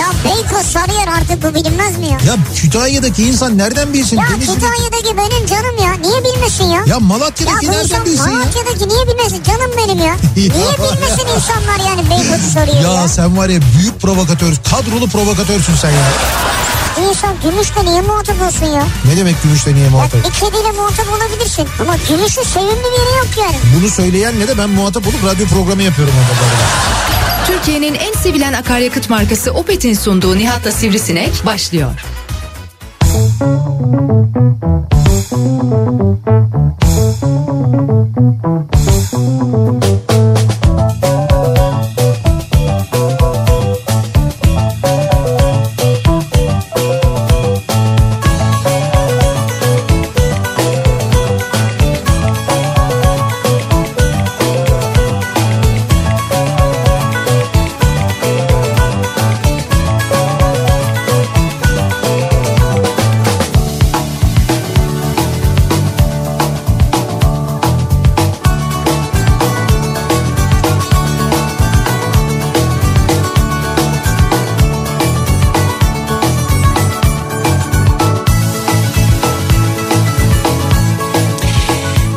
Ya Beykoz Sarıyer artık bu bilinmez mi ya? Ya Kütahya'daki insan nereden bilsin? Ya Denizli'deki- Kütahya'daki benim canım ya. Niye bilmesin ya? Ya Ya Malatya'daki bu nereden insan bilsin ya? Malatya'daki niye bilmesin canım benim ya? Niye bilmesin insanlar yani Beykoz'u soruyor ya? Ya sen var ya büyük provokatör, kadrolu provokatörsün sen ya. İnsan gümüşle niye muhatap olsun ya? Ne demek gümüşle niye Bak muhatap? bir kediyle muhatap olabilirsin ama gümüşün sevimli bir yeri yok yani. Bunu söyleyenle de ben muhatap olup radyo programı yapıyorum orada. bu arada. Türkiye'nin en sevilen akaryakıt markası Opet'in sunduğu Nihat'la Sivrisinek başlıyor.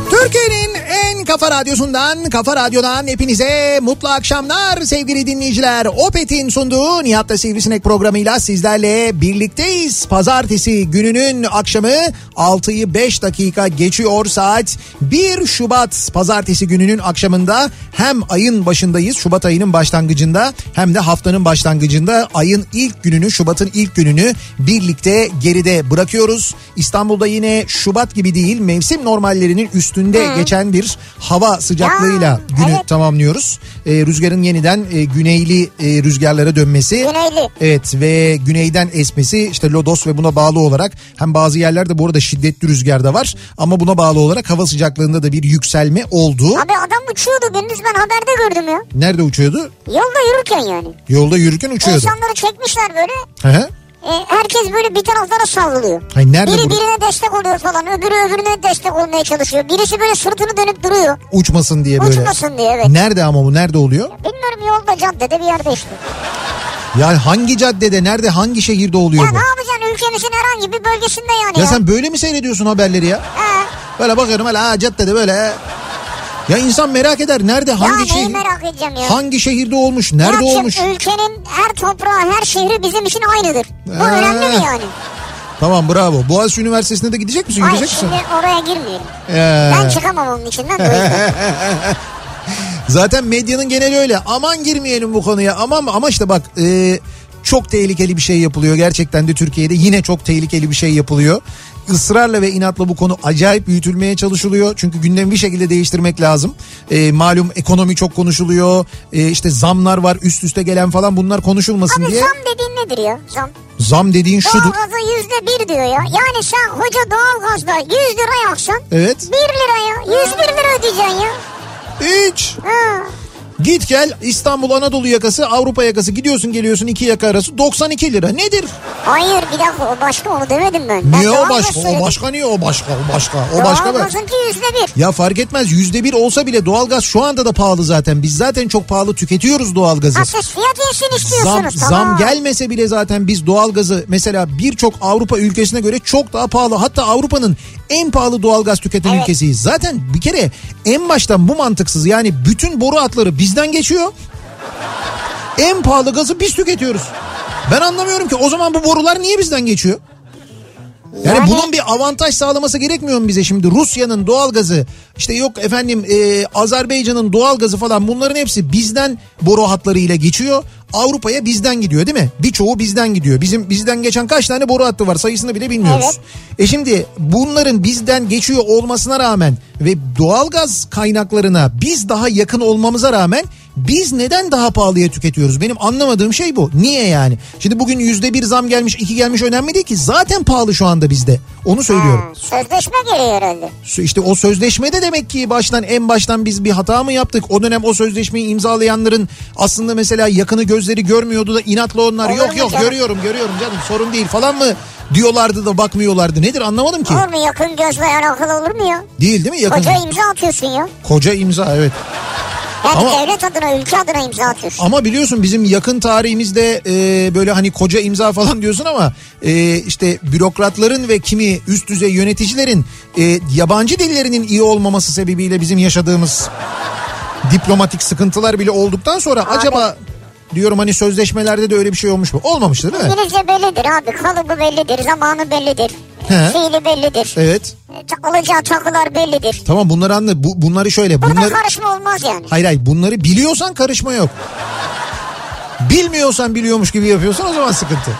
Türkiye'nin en kafa radyosundan, kafa radyodan hepinize mutlu akşamlar sevgili dinleyiciler. Opet'in sunduğu Nihat'la Sivrisinek programıyla sizlerle birlikteyiz. Pazartesi gününün akşamı 6'yı 5 dakika geçiyor saat. 1 Şubat pazartesi gününün akşamında hem ayın başındayız. Şubat ayının başlangıcında hem de haftanın başlangıcında ayın ilk gününü, Şubat'ın ilk gününü birlikte geride bırakıyoruz. İstanbul'da yine Şubat gibi değil mevsim normallerinin üstünde geçen bir hava sıcaklığıyla Ya, günü evet. tamamlıyoruz. Ee, rüzgarın yeniden e, güneyli e, rüzgarlara dönmesi. Güneyli. Evet ve güneyden esmesi işte lodos ve buna bağlı olarak hem bazı yerlerde bu arada şiddetli rüzgar da var ama buna bağlı olarak hava sıcaklığında da bir yükselme oldu. Abi adam uçuyordu gündüz ben haberde gördüm ya. Nerede uçuyordu? Yolda yürürken yani. Yolda yürürken uçuyordu. İnsanları çekmişler böyle. Hı hı. E, herkes böyle bir taraflara savruluyor. Hayır, nerede Biri bu- birine destek oluyor falan. Öbürü öbürüne destek olmaya çalışıyor. Birisi böyle sırtını dönüp duruyor. Uçmasın diye böyle. Uçmasın diye evet. Nerede ama bu nerede oluyor? Bilmiyorum yolda caddede bir yerde işte. Yani hangi caddede nerede hangi şehirde oluyor Ya bu? ne yapacaksın ülkemizin herhangi bir bölgesinde yani ya. Ya sen böyle mi seyrediyorsun haberleri ya? He. Böyle bakıyorum hele ha caddede böyle. Ya insan merak eder nerede ya hangi neyi şehir merak edeceğim ya. hangi şehirde olmuş Ya nerede şimdi olmuş? Ülkenin her toprağı her şehri bizim için aynıdır. Bu Ha. önemli mi yani? Tamam bravo. Boğaziçi Üniversitesi'ne de gidecek misin? Hayır Gidecek misin? şimdi oraya girmeyelim. Ee, Ben çıkamam onun içinden. o yüzden. zaten medyanın geneli öyle. Aman girmeyelim bu konuya. Aman ama işte bak e, çok tehlikeli bir şey yapılıyor. Gerçekten de Türkiye'de yine çok tehlikeli bir şey yapılıyor. Israrla ve inatla bu konu acayip büyütülmeye çalışılıyor. Çünkü gündemi bir şekilde değiştirmek lazım. E, malum ekonomi çok konuşuluyor. E, işte zamlar var üst üste gelen falan bunlar konuşulmasın Abi diye. zam dediğin nedir ya? Zam. Zam dediğin şudur. Doğalgazı yüzde bir diyor ya. Yani sen hoca doğalgazda 100 lira yaksan Evet. 1 lira ya. 101 lira ödeyeceksin ya. Hiç. Ha. Git gel İstanbul Anadolu yakası Avrupa yakası gidiyorsun geliyorsun iki yaka arası 92 lira nedir? Hayır bir dakika o başka onu demedim ben. ben Niye o doğalgaz başka o söyledim. başka niye o başka o başka o başka mı? Doğalgazınki yüzde bir. Ya fark etmez yüzde bir olsa bile doğalgaz şu anda da pahalı zaten biz zaten çok pahalı tüketiyoruz doğalgazı. Ha, siz fiyat yesin Zam, istiyorsunuz. zam gelmese bile zaten biz doğalgazı mesela birçok Avrupa ülkesine göre çok daha pahalı. Hatta Avrupa'nın en pahalı doğalgaz tüketen Evet. ülkesiyiz. Zaten bir kere en baştan bu mantıksız yani bütün boru hatları bizden geçiyor. En pahalı gazı biz tüketiyoruz. Ben anlamıyorum ki o zaman bu borular niye bizden geçiyor? Yani, Yani- bunun bir avantaj sağlaması gerekmiyor mu bize şimdi? Rusya'nın doğalgazı işte yok efendim e, Azerbaycan'ın doğalgazı falan bunların hepsi bizden boru hatlarıyla geçiyor. Avrupa'ya bizden gidiyor değil mi? Birçoğu bizden gidiyor. Bizim bizden geçen kaç tane boru hattı var sayısını bile bilmiyoruz. E şimdi bunların bizden geçiyor olmasına rağmen ve doğalgaz kaynaklarına biz daha yakın olmamıza rağmen Biz neden daha pahalıya tüketiyoruz? Benim anlamadığım şey bu. Niye yani? Şimdi bugün yüzde bir zam gelmiş, iki gelmiş önemli değil ki. Zaten pahalı şu anda bizde. Onu söylüyorum. Ha, sözleşme geliyor herhalde. Sö- İşte o sözleşmede demek ki baştan en baştan biz bir hata mı yaptık? O dönem o sözleşmeyi imzalayanların aslında mesela yakını gözleri görmüyordu da inatla onlar Olur yok mu yok canım?" görüyorum görüyorum canım sorun değil falan mı diyorlardı da bakmıyorlardı. Nedir anlamadım ki. Olur mu yakın gözle yani akıl olur mu ya? Değil değil mi yakın? Koca imza atıyorsun ya. Koca imza evet. Yani Ama- devlet adına ülke adına imza atıyorsun. Ama biliyorsun bizim yakın tarihimizde e, böyle hani koca imza falan diyorsun ama e, işte bürokratların ve kimi üst düzey yöneticilerin e, yabancı dillerinin iyi olmaması sebebiyle bizim yaşadığımız diplomatik sıkıntılar bile olduktan sonra acaba diyorum hani sözleşmelerde de öyle bir şey olmuş mu? Olmamıştır değil mi? İngilizce bellidir abi. Kalıbı bellidir, zamanı bellidir. He. Fiili bellidir. Evet. E, Alacağı takılar bellidir. Tamam bunları anla. Bu, bunları şöyle. Burada Bunları... karışma olmaz yani. Hayır hayır bunları biliyorsan karışma yok. Bilmiyorsan biliyormuş gibi yapıyorsan o zaman sıkıntı.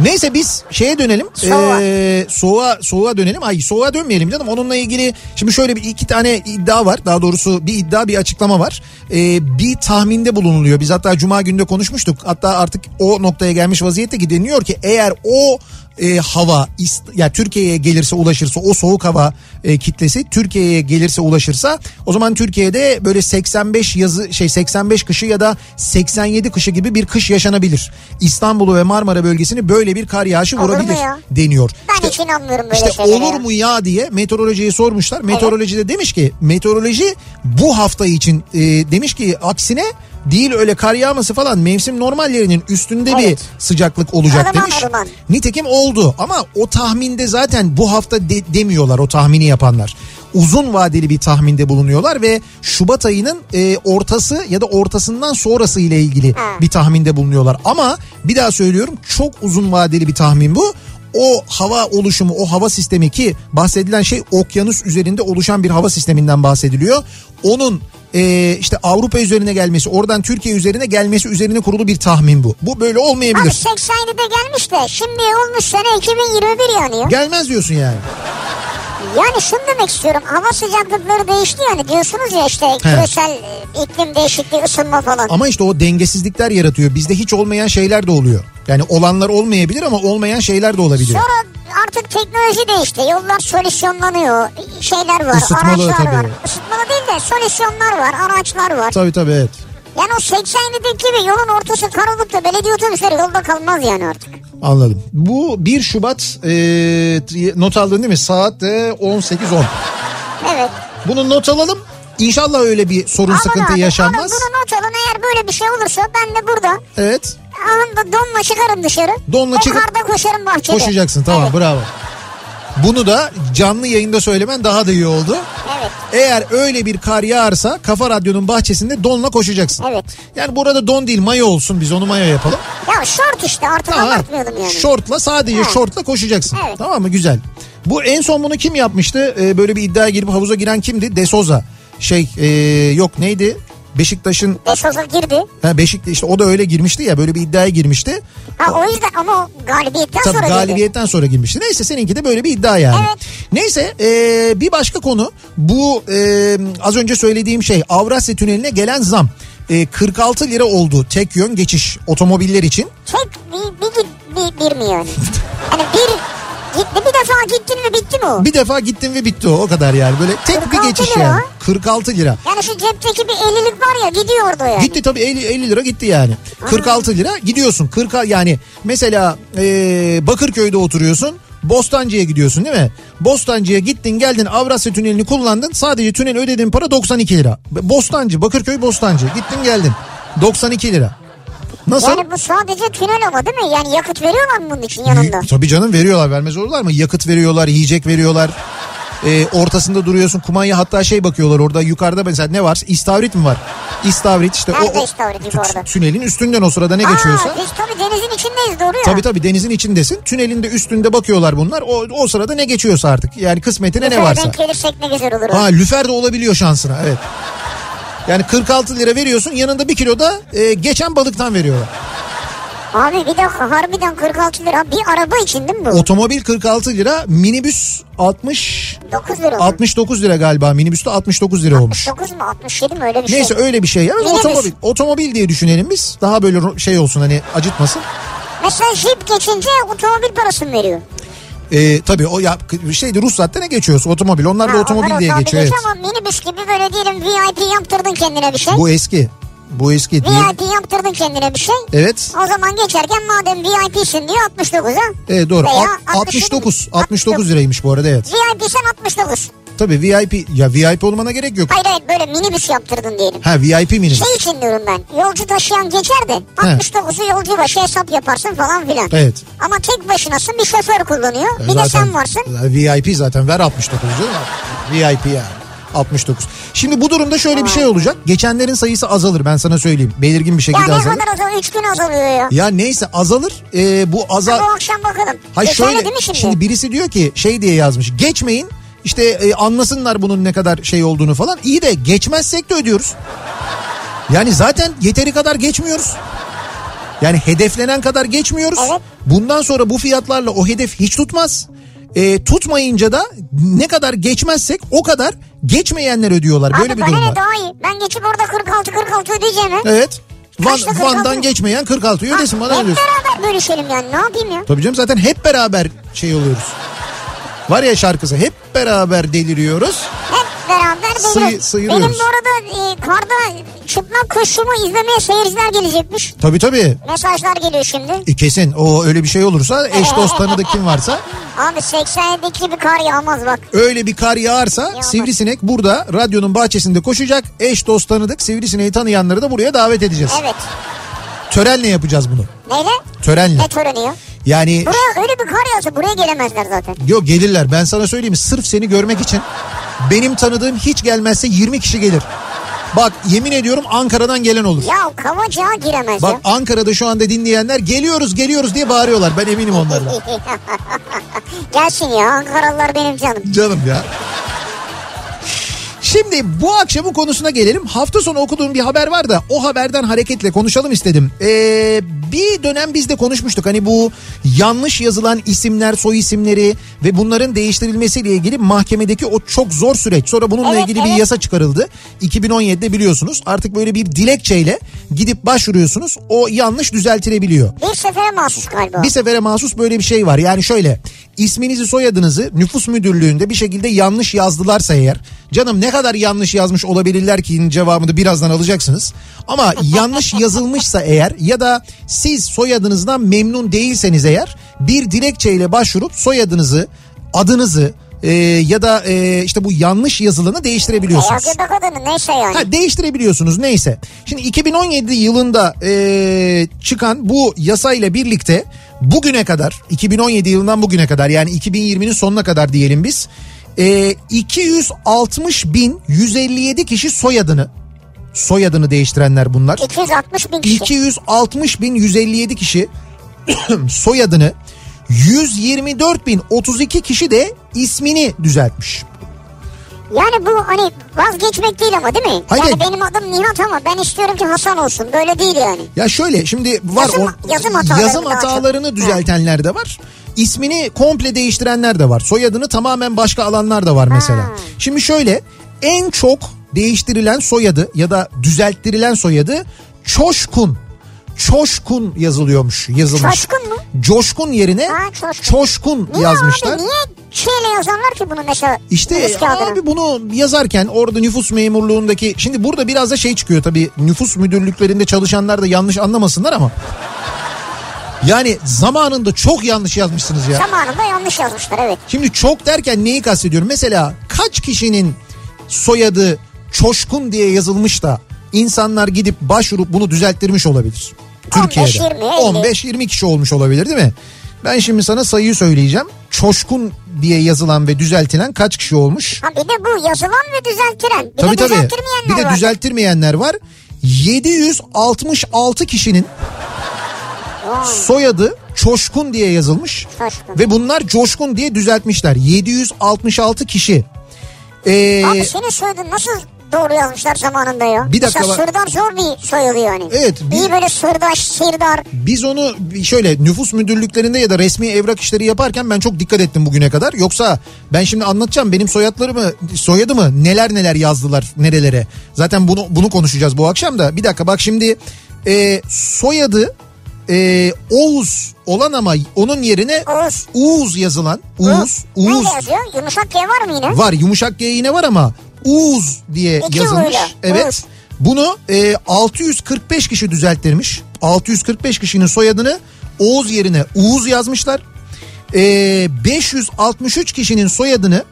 Neyse biz şeye dönelim. Soğuğa. Ee, soğuğa, soğuğa dönelim. Ay soğuğa dönmeyelim canım. Onunla ilgili şimdi şöyle bir iki tane iddia var. Daha doğrusu bir iddia bir açıklama var. Ee, bir tahminde bulunuluyor. Biz hatta cuma günde konuşmuştuk. Hatta artık o noktaya gelmiş vaziyette ki deniyor ki eğer o e, hava ist- ya Türkiye'ye gelirse ulaşırsa o soğuk hava e, kitlesi Türkiye'ye gelirse ulaşırsa o zaman Türkiye'de böyle 85 yazı şey 85 kışı ya da 87 kışı gibi bir kış yaşanabilir. İstanbul'u ve Marmara bölgesini böyle bir kar yağışı Olur mu vurabilir ya? deniyor. Ben İşte- hiç inanmıyorum böyle işte şeylere. olur ya. mu ya diye meteorolojiye sormuşlar. Meteoroloji de demiş ki meteoroloji bu hafta için e, demiş ki aksine değil öyle kar yağması falan mevsim normallerinin üstünde bir Evet. sıcaklık olacak Alınan demiş. alınan. Nitekim oldu ama o tahminde zaten bu hafta de- demiyorlar o tahmini yapanlar. Uzun vadeli bir tahminde bulunuyorlar ve Şubat ayının e, ortası ya da ortasından sonrası ile ilgili bir tahminde bulunuyorlar. Ama bir daha söylüyorum çok uzun vadeli bir tahmin bu. O hava oluşumu, o hava sistemi ki bahsedilen şey okyanus üzerinde oluşan bir hava sisteminden bahsediliyor. Onun e, işte Avrupa üzerine gelmesi, oradan Türkiye üzerine gelmesi üzerine kurulu bir tahmin bu. Bu böyle Abi olmayabilir. 87'de gelmiş de şimdi olmuş sene 2021 yani ya. Gelmez diyorsun yani. Yani şunu demek istiyorum hava sıcaklıkları değişti yani diyorsunuz ya işte küresel e, iklim değişikliği ısınma falan. Ama işte o dengesizlikler yaratıyor. Bizde hiç olmayan şeyler de oluyor. Yani olanlar olmayabilir ama olmayan şeyler de olabilir. Sonra artık teknoloji değişti. Yollar solüsyonlanıyor. Şeyler var, Isıtmalı araçlar tabii. var. Isıtmalı değil de solüsyonlar var, araçlar var. Tabii tabii evet. Yani o 87'deki gibi yolun ortası kar olup da belediye otobüsleri yolda kalmaz yani artık. Anladım. Bu 1 Şubat e, t- not aldın değil mi? Saat e, de 18.10. Evet. Bunu not alalım. İnşallah öyle bir sorun Alın sıkıntı abi, yaşanmaz. Alın bunu not alın eğer böyle bir şey olursa ben de burada Evet. alın da donla çıkarım dışarı. Donla O çıkıp- karda koşarım bahçede. Koşacaksın tamam Evet. bravo. Bunu da canlı yayında söylemen daha da iyi oldu. Evet. Eğer öyle bir kar yağarsa Kafa Radyo'nun bahçesinde donla koşacaksın. Evet. Yani burada don değil mayo olsun biz onu mayo yapalım. Ya şort işte artık Ha, abartmayalım yani. Şortla sadece Evet. şortla koşacaksın. Evet. Tamam mı? Güzel. Bu en son bunu kim yapmıştı? Ee, böyle bir iddiaya girip havuza giren kimdi? De Souza. Şey ee, yok neydi? Beşiktaş'ın Beş olsa girdi. ha Beşiktaş işte o da öyle girmişti ya böyle bir iddiaya girmişti. Ha o yüzden ama o galibiyetten Tabii sonra girdi. galibiyetten sonra girmişti. Neyse seninki de böyle bir iddia yani. Evet. Neyse e, bir başka konu bu e, az önce söylediğim şey Avrasya Tüneli'ne gelen zam. E, 46 lira oldu tek yön geçiş otomobiller için. Tek bir, bir, git- bir, bir mi yani? hani bir gitti bir defa gittin mi bitti mi o? Bir defa gittim ve bitti o o kadar yani böyle tek bir 46 geçiş lira. yani. 46 lira. Yani şu cepteki bir elilik var ya gidiyor orada yani. Gitti tabii 50, 50 lira gitti yani. 46 lira gidiyorsun. 40 yani mesela e, Bakırköy'de oturuyorsun. Bostancı'ya gidiyorsun değil mi? Bostancı'ya gittin geldin Avrasya Tüneli'ni kullandın. Sadece tünel ödediğin para 92 lira. Bostancı, Bakırköy Bostancı. Gittin geldin. 92 lira. Nasıl? Yani bu sadece tünel ama değil mi? Yani yakıt veriyorlar mı bunun için yanında? Y- Tabii canım veriyorlar vermez olurlar mı? Yakıt veriyorlar, yiyecek veriyorlar. Ee, ortasında duruyorsun kumanya hatta şey bakıyorlar orada yukarıda mesela ne var? İstavrit mi var? İstavrit işte Nerede o, o istavrit tü- yukarıda? tünelin üstünden o sırada ne geçiyorsa. Aa, biz tabii denizin içindeyiz doğru ya. Tabii tabii denizin içindesin. Tünelin de üstünde bakıyorlar bunlar. O, o sırada ne geçiyorsa artık. Yani kısmetine ne Şöyle varsa. denk gelirsek ne güzel olur. o. Ha lüfer de olabiliyor şansına evet. Yani 46 lira veriyorsun yanında bir kilo da e, geçen balıktan veriyorlar. Abi bir dakika harbiden 46 lira bir araba için değil mi bu? Otomobil 46 lira, minibüs 60 9 lira mı? 69 lira galiba. Minibüste 69 lira olmuş. 9 mu 67 mi öyle bir Neyse şey. öyle bir şey ya. Minibüs. Otomobil, otomobil diye düşünelim biz. Daha böyle ro- şey olsun hani acıtmasın. Mesela jip geçince otomobil parasını veriyor. Ee, tabii o ya şeydi ruhsatta ne geçiyorsun otomobil. Onlar da Ha, otomobil onlar diye otomobil geçiyor. Evet. Ama minibüs gibi böyle diyelim VIP yaptırdın kendine bir şey. Bu eski. Bu eski. Diye- VIP yaptırdın kendine bir şey. Evet. O zaman geçerken madem VIP'sin diyor 69'a. Evet e, doğru. Veya Alt- 69 69. 69 liraymış bu arada evet. VIP sen 69. Tabii VIP ya VIP olmana gerek yok. Hayır hayır böyle minibüs yaptırdın diyelim. Ha VIP minibüs. Şey için diyorum ben yolcu taşıyan geçer de 69'u yolcu başı hesap yaparsın falan filan. Evet. Ama tek başınasın bir şoför kullanıyor bir de sen varsın. VIP zaten ver 69 diyor ya. VIP yani. 69. Şimdi bu durumda şöyle bir şey olacak. Geçenlerin sayısı azalır ben sana söyleyeyim. Belirgin bir Ya şekilde ne azalır. kadar azalıyor 3 gün azalıyor ya. Ya neyse azalır. Ee, bu azal... Bu akşam bakalım. Hayır Geçerli şöyle değil mi şimdi? şimdi birisi diyor ki şey diye yazmış geçmeyin işte e, anlasınlar bunun ne kadar şey olduğunu falan iyi de geçmezsek de ödüyoruz. Yani zaten yeteri kadar geçmiyoruz. Yani hedeflenen kadar geçmiyoruz. Evet. Bundan sonra bu fiyatlarla o hedef hiç tutmaz. E, tutmayınca da ne kadar geçmezsek o kadar geçmeyenler ödüyorlar. Böyle Abi bir durum bana var. ne daha iyi. Ben geçip orada 46-46 ödeyeceğim ha. Evet. Van, Kaçta kırk altı? Van'dan geçmeyen 46'yı ödesin bana Hep ödüyorsun. beraber bölüşelim yani ne yapayım ya. Tabii canım zaten hep beraber şey oluyoruz. Var ya şarkısı hep beraber deliriyoruz. Hep beraber Sıyı- bölüyoruz. sıyırıyoruz. Benim bu arada e, karda çıplak koşumu izlemeye seyirciler gelecekmiş. Tabii tabii. Mesajlar geliyor şimdi. E, kesin o öyle bir şey olursa eş dost tanıdık kim varsa Abi 87'deki gibi kar yağmaz bak. öyle bir kar yağarsa Yağmur. sivrisinek burada radyonun bahçesinde koşacak. Eş dost tanıdık sivrisineği tanıyanları da buraya davet edeceğiz. Evet. Törenle yapacağız bunu. Neyle? Törenle. Ne töreni ya? Yani Buraya öyle bir kar yağsa buraya gelemezler zaten. yok gelirler ben sana söyleyeyim sırf seni görmek için benim tanıdığım hiç gelmezse 20 kişi gelir. Bak yemin ediyorum Ankara'dan gelen olur. Ya kavacağa giremez Bak ya. Ankara'da şu anda dinleyenler geliyoruz geliyoruz diye bağırıyorlar. Ben eminim onlardan. Gelsin ya Ankaralılar benim canım. Canım ya. Şimdi bu akşamın konusuna gelelim. Hafta sonu okuduğum bir haber var da o haberden hareketle konuşalım istedim. Ee, bir dönem biz de konuşmuştuk. Hani bu yanlış yazılan isimler, soy isimleri ve bunların değiştirilmesiyle ilgili mahkemedeki o çok zor süreç. Sonra bununla Evet, ilgili bir evet. yasa çıkarıldı. 2017'de biliyorsunuz artık böyle bir dilekçeyle gidip başvuruyorsunuz. O yanlış düzeltilebiliyor. Bir sefere mahsus galiba. Bir sefere mahsus böyle bir şey var. Yani şöyle isminizi soyadınızı nüfus müdürlüğünde bir şekilde yanlış yazdılarsa eğer canım ne kadar yanlış yazmış olabilirler ki cevabını birazdan alacaksınız. Ama yanlış yazılmışsa eğer ya da siz soyadınızdan memnun değilseniz eğer bir dilekçeyle başvurup soyadınızı adınızı e, ya da e, işte bu yanlış yazılanı değiştirebiliyorsunuz. Beyaz yaka kadını neyse yani. Ha, değiştirebiliyorsunuz neyse. Şimdi 2017 yılında e, çıkan bu yasayla birlikte bugüne kadar 2017 yılından bugüne kadar yani 2020'nin sonuna kadar diyelim biz e, 260 bin 157 kişi soyadını soyadını değiştirenler bunlar. 260 bin kişi. 260 bin 157 kişi soyadını 124 bin 32 kişi de ismini düzeltmiş. Yani bu hani vazgeçmek değil ama değil mi? Hayır, yani hayır. benim adım Nihat ama ben istiyorum ki Hasan olsun. Böyle değil yani. Ya şöyle şimdi var Yazım- o- yazım hataları yazım daha çok. hatalarını düzeltenler de var. İsmini komple değiştirenler de var. Soyadını tamamen başka alanlar da var mesela. Ha. Şimdi şöyle en çok değiştirilen soyadı ya da düzelttirilen soyadı Çoşkun. Çoşkun yazılıyormuş, yazılmış. Çoşkun mu? Coşkun yerine Ha, Çoşkun. Çoşkun Niye yazmışlar. abi niye şeyle yazanlar ki bunu mesela? İşte nüfus kağıdına? abi bunu yazarken orada nüfus memurluğundaki şimdi burada biraz da şey çıkıyor tabii nüfus müdürlüklerinde çalışanlar da yanlış anlamasınlar ama yani zamanında çok yanlış yazmışsınız ya. Zamanında yanlış yazmışlar evet. Şimdi çok derken neyi kastediyorum? Mesela kaç kişinin soyadı Çoşkun diye yazılmış da insanlar gidip başvurup bunu düzelttirmiş olabilir. 15, 20, Türkiye'de 50. 15-20 kişi olmuş olabilir değil mi? Ben şimdi sana sayıyı söyleyeceğim. Çoşkun diye yazılan ve düzeltilen kaç kişi olmuş? Ha bir de bu yazılan ve düzeltilen. Bir Tabii de tabii. düzelttirmeyenler Bir de var. düzelttirmeyenler var. 766 kişinin Vay, soyadı Çoşkun diye yazılmış. Çoşkun. Ve bunlar Coşkun diye düzeltmişler. 766 kişi. Ee, Abi senin soyadın nasıl doğru yazmışlar zamanında ya. Bir dakika Mesela bak- Sırdar zor bir soyadı yani. Evet, bir- İyi böyle sırdaş, sirdar. Biz onu şöyle nüfus müdürlüklerinde ya da resmi evrak işleri yaparken ben çok dikkat ettim bugüne kadar. Yoksa ben şimdi anlatacağım benim soyadlarımı soyadımı neler neler yazdılar nerelere. Zaten bunu bunu konuşacağız bu akşam da. Bir dakika bak şimdi e, soyadı e, Oğuz olan ama onun yerine Oğuz. Uğuz yazılan Uğuz Uğuz Nerede yazıyor? Yumuşak G var mı yine? var yumuşak G yine var ama Uğuz diye İki yazılmış. U'yla, Evet. Uğuz. Bunu e, 645 kişi düzelttirmiş. 645 kişinin soyadını Oğuz yerine Uğuz yazmışlar. E, 563 kişinin soyadını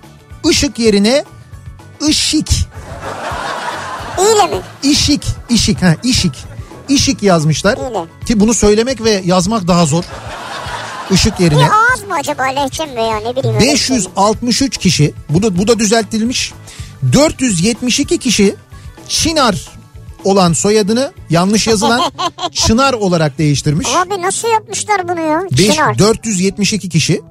Işık yerine Işık İyle mi? İşik, işik, ha işik. İşik yazmışlar. Öyle. Ki bunu söylemek ve yazmak daha zor. Işık yerine. Bir ağız mı acaba lehçe mi veya ne bileyim. öyle bir şey mi? 563 kişi bu da, bu da düzeltilmiş. 472 kişi Çınar olan soyadını yanlış yazılan Çınar olarak değiştirmiş. Abi nasıl yapmışlar bunu ya? Beş- Çınar. 472 kişi.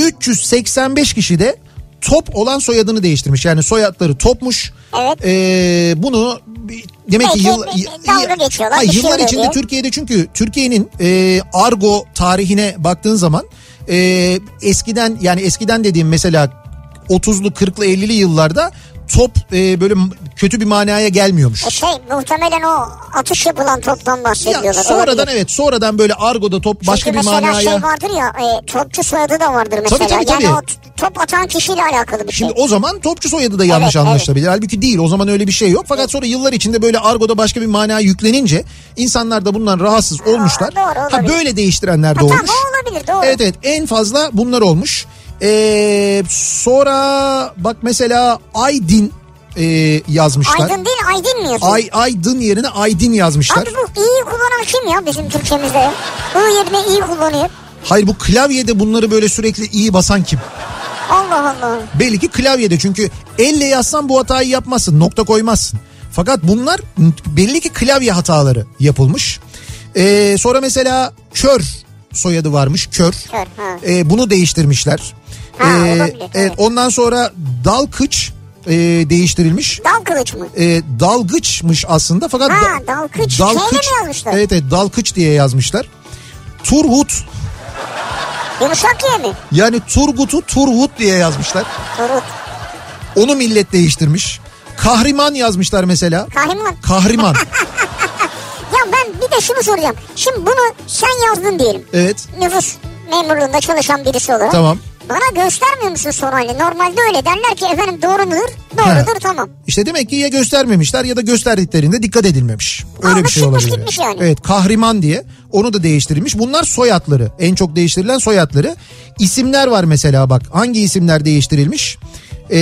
385 kişi de top olan soyadını değiştirmiş. Yani soyadları topmuş. Evet. Ee, bunu bir- demek ki Belki yıl, bir- bir dalga geçiyorlar, Ay, bir şey yıllar oluyor içinde diye. Türkiye'de çünkü Türkiye'nin e, argo tarihine baktığın zaman e, eskiden yani eskiden dediğim mesela 30'lu 40'lı 50'li yıllarda top e, böyle m- kötü bir manaya gelmiyormuş. E şey muhtemelen o atış yapılan toptan bahsediyorlar. Ya, sonradan Olabilir. evet sonradan böyle argoda top başka Çünkü bir mesela manaya. şey vardır ya e, topçu soyadı da vardır mesela. tabii, tabii. Yani o t- top atan kişiyle alakalı bir şey. Şimdi o zaman topçu soyadı da yanlış Evet, anlaşılabilir. Halbuki değil o zaman öyle bir şey yok. Fakat sonra yıllar içinde böyle argoda başka bir mana yüklenince insanlar da bundan rahatsız olmuşlar. doğru, ha olabilir. böyle değiştirenler de Ha, tamam, olmuş. o olabilir, doğru. Evet evet en fazla bunlar olmuş. Ee, sonra bak mesela Aydin e, yazmışlar. Aydın değil Aydın mı yazıyor? Ay Aydın yerine Aydın yazmışlar. Abi bu iyi kullanan kim ya bizim Türkçemizde? ya? Bu yerine iyi kullanıyor. Hayır bu klavyede bunları böyle sürekli iyi basan kim? Allah Allah. Belli ki klavyede çünkü elle yazsan bu hatayı yapmazsın nokta koymazsın. Fakat bunlar belli ki klavye hataları yapılmış. Ee, sonra mesela kör soyadı varmış kör. Kör, ha. Ee, bunu değiştirmişler. Ee, Ha, olabilir, evet, evet. ondan sonra dalkıç e, değiştirilmiş. Dal kılıç mı? E, dalgıçmış aslında fakat Ha, da- dalgıç. Şeyle mi yazmışlar? Evet evet dalgıç diye yazmışlar. Turhut Yumuşak ye mi? yani Turgut'u Turhut diye yazmışlar. Turut. Onu millet değiştirmiş. Kahriman yazmışlar mesela. Kahraman. Kahriman. Ya ben bir de şunu soracağım. Şimdi bunu sen yazdın diyelim. Evet. Nüfus memurluğunda çalışan birisi olarak. Tamam. Bana göstermiyor musun son halini? Normalde öyle derler ki efendim doğru mudur? Doğrudur Ha. tamam. İşte demek ki ya göstermemişler ya da gösterdiklerinde dikkat edilmemiş. Öyle Almış bir şey çıkmış olabilir. gitmiş yani. Evet kahriman diye onu da değiştirilmiş. Bunlar soyadları. En çok değiştirilen soyadları. İsimler var mesela bak. Hangi isimler değiştirilmiş? Ee,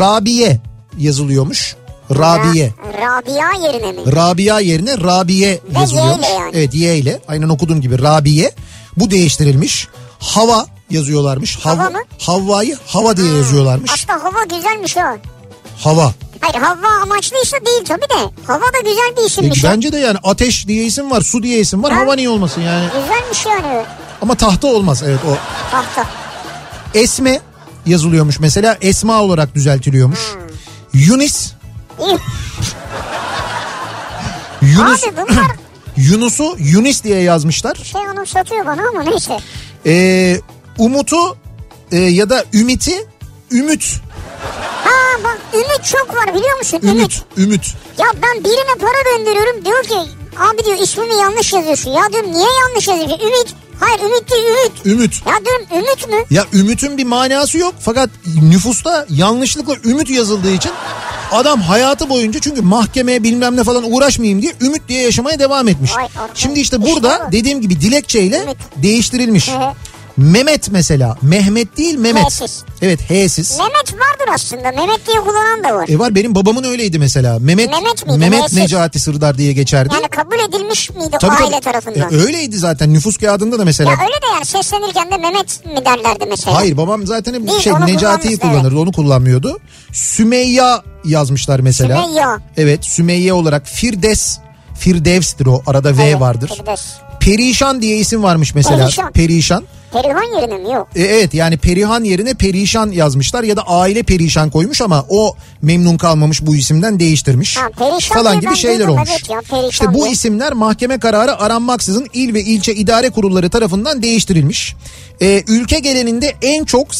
Rabiye yazılıyormuş. Rabiye. Ra- Rabia yerine mi? Rabia yerine Rabiye Ve yazılıyormuş. Y ile yani. Evet Y ile. Aynen okuduğum gibi Rabiye. Bu değiştirilmiş. Hava yazıyorlarmış. Hav- Hava mı? Havva'yı hava diye yazıyorlarmış. Aslında hava güzelmiş ha. Hava. Hayır hava amaçlıysa değil tabii de. Hava da güzel bir E, isimmiş. bence de yani ateş diye isim var, su diye isim var. Ha? Hava niye olmasın yani? Güzelmiş yani Ama tahta olmaz. Evet o. tahta. Esme yazılıyormuş mesela. Esma olarak düzeltiliyormuş. Yunis. Hmm. İyi. Yunus. Abi bunlar Yunus'u Yunis diye yazmışlar. şey onu satıyor bana ama neyse. Ee, Umut'u e, ya da Ümit'i Ümit. Ha bak Ümit çok var biliyor musun? Ümit. Ümit. Ümit. Ya ben birine para gönderiyorum diyor ki abi diyor ismimi yanlış yazıyorsun. Ya diyorum niye yanlış yazıyorsun? Ümit. Hayır Ümit değil Ümit. Ümit. Ya diyorum Ümit mü? Ya Ümit'in bir manası yok fakat nüfusta yanlışlıkla Ümit yazıldığı için adam hayatı boyunca çünkü mahkemeye bilmem ne falan uğraşmayayım diye Ümit diye yaşamaya devam etmiş. Vay arkadaş, Şimdi işte işte burada bu. dediğim gibi dilekçeyle Ümit. değiştirilmiş. Hı hı. Mehmet mesela Mehmet değil Mehmet. H'siz. Evet H'siz. Mehmet vardır aslında. Mehmet diye kullanan da var. E var benim babamın öyleydi mesela. Mehmet Mehmet miydi? Mehmet H'siz. Necati Sırdar diye geçerdi. Yani kabul edilmiş miydi Tabii, o aile tabii. tarafından? E, öyleydi zaten nüfus kağıdında da mesela. ya öyle de yani seslenirken de Mehmet mi derlerdi mesela? Hayır babam zaten hep Değil, şey onu Necati'yi kullanmıştı, evet. kullanırdı onu kullanmıyordu. Sümeyya yazmışlar mesela. Sümeyya. Evet Sümeyye olarak Firdevs. Firdevs'tir o arada V Evet, vardır. Firdevs. Perişan diye isim varmış mesela. Perişan. Perişan. Perihan yerine mi yok? E, evet yani Perihan yerine Perişan yazmışlar ya da aile Perişan koymuş ama o memnun kalmamış bu isimden değiştirmiş. Ha, Perişan falan diye gibi ben şeyler duydum, olmuş. evet ya, Perişan işte bu diye. isimler mahkeme kararı aranmaksızın il ve ilçe idare kurulları tarafından değiştirilmiş. E, ülke genelinde en çok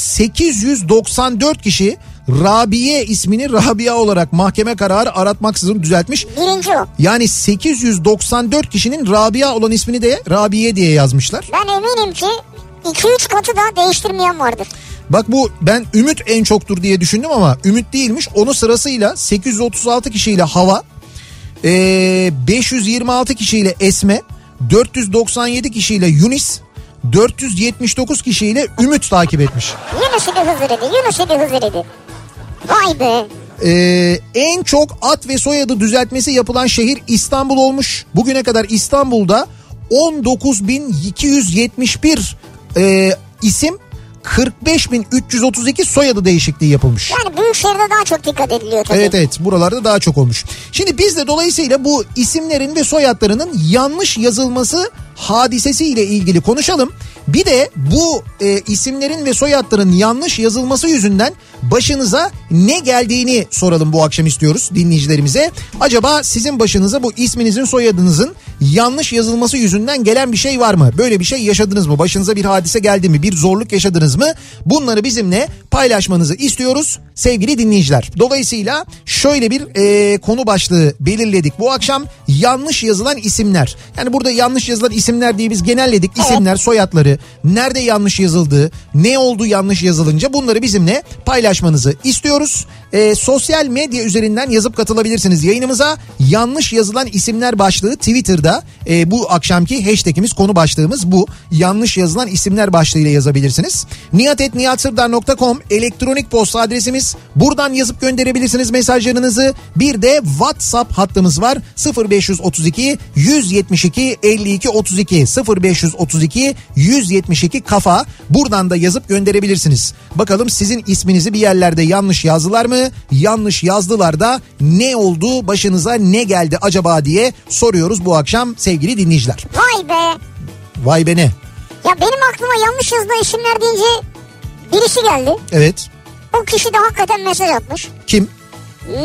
894 kişi Rabiye ismini Rabia olarak mahkeme kararı aratmaksızın düzeltmiş. Birinci o. Yani 894 kişinin Rabia olan ismini de Rabiye diye yazmışlar. Ben eminim ki 2-3 katı daha değiştirmeyen vardır. Bak bu ben Ümit en çoktur diye düşündüm ama Ümit değilmiş. Onu sırasıyla 836 kişiyle Hava, ee, 526 kişiyle Esme, 497 kişiyle Yunis, 479 kişiyle Ümit takip etmiş. Yunus ile Hızır idi, Yunus ile Hızır idi. Vay be. Ee, en çok at ve soyadı düzeltmesi yapılan şehir İstanbul olmuş. Bugüne kadar İstanbul'da 19.271 e, isim 45.332 soyadı değişikliği yapılmış. Yani büyük şehirde daha çok dikkat ediliyor tabii. Evet evet buralarda daha çok olmuş. Şimdi biz de dolayısıyla bu isimlerin ve soyadlarının yanlış yazılması hadisesiyle ilgili konuşalım. Bir de bu e, isimlerin ve soyadların yanlış yazılması yüzünden başınıza ne geldiğini soralım bu akşam istiyoruz dinleyicilerimize. Acaba sizin başınıza bu isminizin soyadınızın yanlış yazılması yüzünden gelen bir şey var mı? Böyle bir şey yaşadınız mı? Başınıza bir hadise geldi mi? Bir zorluk yaşadınız mı? Bunları bizimle paylaşmanızı istiyoruz sevgili dinleyiciler. Dolayısıyla şöyle bir e, konu başlığı belirledik bu akşam. Yanlış yazılan isimler. Yani burada yanlış yazılan isimler diye biz genelledik. İsimler, soyadları, nerede yanlış yazıldığı, ne oldu yanlış yazılınca bunları bizimle paylaşmanızı istiyoruz. E, sosyal medya üzerinden yazıp katılabilirsiniz yayınımıza. Yanlış yazılan isimler başlığı Twitter'da e, bu akşamki hashtagimiz konu başlığımız bu. Yanlış yazılan isimler başlığıyla yazabilirsiniz. Nihatetnihatsırdar.com elektronik posta adresimiz. Buradan yazıp gönderebilirsiniz mesajlarınızı. Bir de WhatsApp hattımız var. 0532 172 52 32 0532 172 kafa. Buradan da yazıp gönderebilirsiniz. Bakalım sizin isminizi bir yerlerde yanlış yazdılar mı? Yanlış yazdılar da ne oldu? Başınıza ne geldi acaba diye soruyoruz bu akşam sevgili dinleyiciler. Vay be. Vay be ne? Ya benim aklıma yanlış yazılan isimler deyince birisi geldi. Evet. O kişi de hakikaten mesaj atmış. Kim?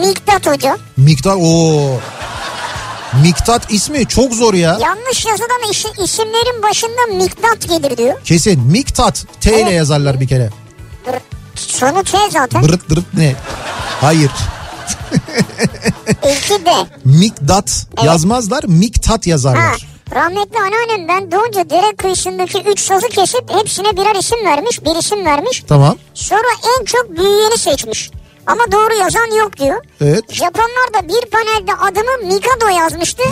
Miktat Hoca. Miktat o. Miktat ismi çok zor ya. Yanlış yazılan işi- isimlerin başında Miktat gelir diyor. Kesin Miktat T ile Evet. yazarlar bir kere. Dur. Sonu T zaten. Bırıt bırıt ne? Hayır. İlki D. Mikdat Evet. yazmazlar, Miktat Ha. yazarlar. Rahmetli anneannemden doğunca dere kıyısındaki üç sazı kesip hepsine birer isim vermiş, bir isim vermiş. Tamam. Sonra en çok büyüyeni seçmiş. Ama doğru yazan yok diyor. Evet. Japonlar da bir panelde adımı Mikado yazmıştı.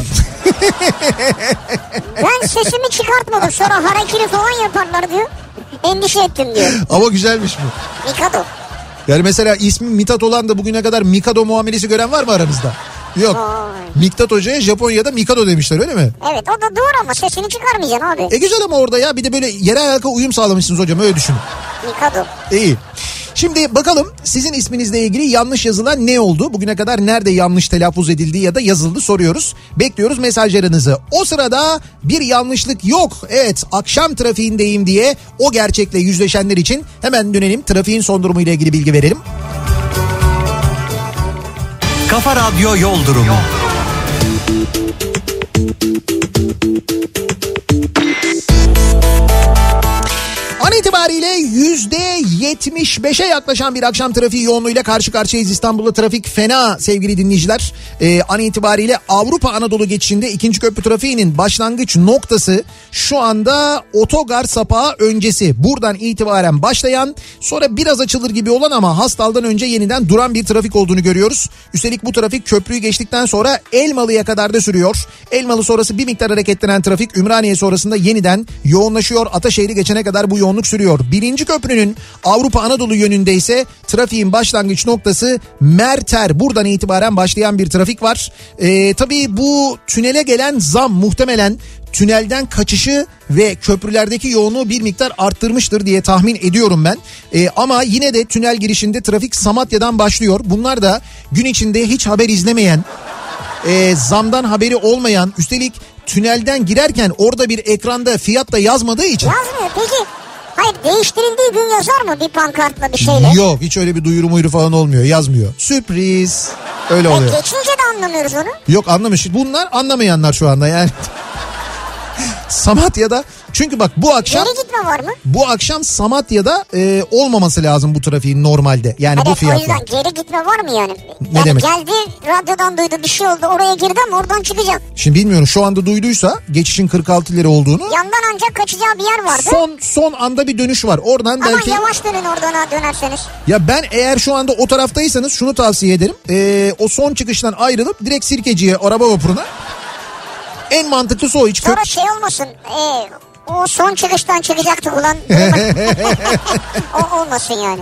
ben sesimi çıkartmadım sonra harekiri falan yaparlar diyor. Endişe ettim diyor. Ama güzelmiş bu. Mikado. Yani mesela ismi Mitat olan da bugüne kadar Mikado muamelesi gören var mı aranızda? Yok. Vay. Miktat Hoca'ya Japonya'da Mikado demişler öyle mi? Evet o da doğru ama sesini çıkarmayacaksın abi. E güzel ama orada ya bir de böyle yere halka uyum sağlamışsınız hocam öyle düşünün. Mikado. İyi. Şimdi bakalım sizin isminizle ilgili yanlış yazılan ne oldu? Bugüne kadar nerede yanlış telaffuz edildi ya da yazıldı soruyoruz. Bekliyoruz mesajlarınızı. O sırada bir yanlışlık yok. Evet akşam trafiğindeyim diye o gerçekle yüzleşenler için hemen dönelim trafiğin son durumuyla ilgili bilgi verelim. Kafa Radyo Yol Durumu. An itibariyle %75'e yaklaşan bir akşam trafiği yoğunluğuyla karşı karşıyayız. İstanbul'da trafik fena sevgili dinleyiciler. Ee, an itibariyle Avrupa Anadolu geçişinde ikinci köprü trafiğinin başlangıç noktası şu anda otogar sapağı öncesi. Buradan itibaren başlayan sonra biraz açılır gibi olan ama hastaldan önce yeniden duran bir trafik olduğunu görüyoruz. Üstelik bu trafik köprüyü geçtikten sonra Elmalı'ya kadar da sürüyor. Elmalı sonrası bir miktar hareketlenen trafik Ümraniye sonrasında yeniden yoğunlaşıyor. Ataşehir'i geçene kadar bu yoğunluk sürüyor. Birinci köprünün Avrupa Anadolu yönünde ise trafiğin başlangıç noktası Merter. Buradan itibaren başlayan bir trafik var. Ee, tabii bu tünele gelen zam muhtemelen tünelden kaçışı ve köprülerdeki yoğunluğu bir miktar arttırmıştır diye tahmin ediyorum ben. Ee, ama yine de tünel girişinde trafik Samatya'dan başlıyor. Bunlar da gün içinde hiç haber izlemeyen e, zamdan haberi olmayan üstelik tünelden girerken orada bir ekranda fiyat da yazmadığı için Yazmıyor. Peki Hayır değiştirildiği gün yazar mı bir pankartla bir şeyle? Yok hiç öyle bir duyuru muyuru falan olmuyor yazmıyor. Sürpriz öyle E, oluyor. geçince de anlamıyoruz onu. Yok anlamış. Bunlar anlamayanlar şu anda yani. Samatya'da çünkü bak bu akşam Geri gitme var mı? bu akşam Samatya'da e, olmaması lazım bu trafiğin normalde. Yani bu Evet o fiyatla. yüzden geri gitme var mı yani? Ne yani demek? Geldi radyodan duydu bir şey oldu oraya girdi ama oradan çıkacak. Şimdi bilmiyorum şu anda duyduysa geçişin 46 lira olduğunu. Yandan ancak kaçacağı bir yer vardı. Son son anda bir dönüş var. Oradan ama belki yavaş dönün oradan ha dönerseniz. ya ben eğer şu anda o taraftaysanız şunu tavsiye ederim. E, o son çıkıştan ayrılıp direkt Sirkeci'ye araba vapuruna en mantıklısı o hiç kö- Sonra şey olmasın. E, o son çıkıştan çıkacaktık ulan. o olmasın yani.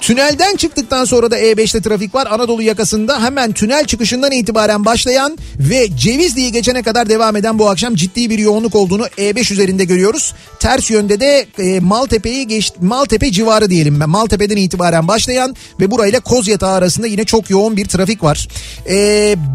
Tünelden çıktıktan sonra da E5'te trafik var. Anadolu yakasında hemen tünel çıkışından itibaren başlayan ve Cevizli'yi geçene kadar devam eden bu akşam ciddi bir yoğunluk olduğunu E5 üzerinde görüyoruz. Ters yönde de e, Maltepe'yi geç Maltepe civarı diyelim. Maltepe'den itibaren başlayan ve burayla Kozyatağı arasında yine çok yoğun bir trafik var. E,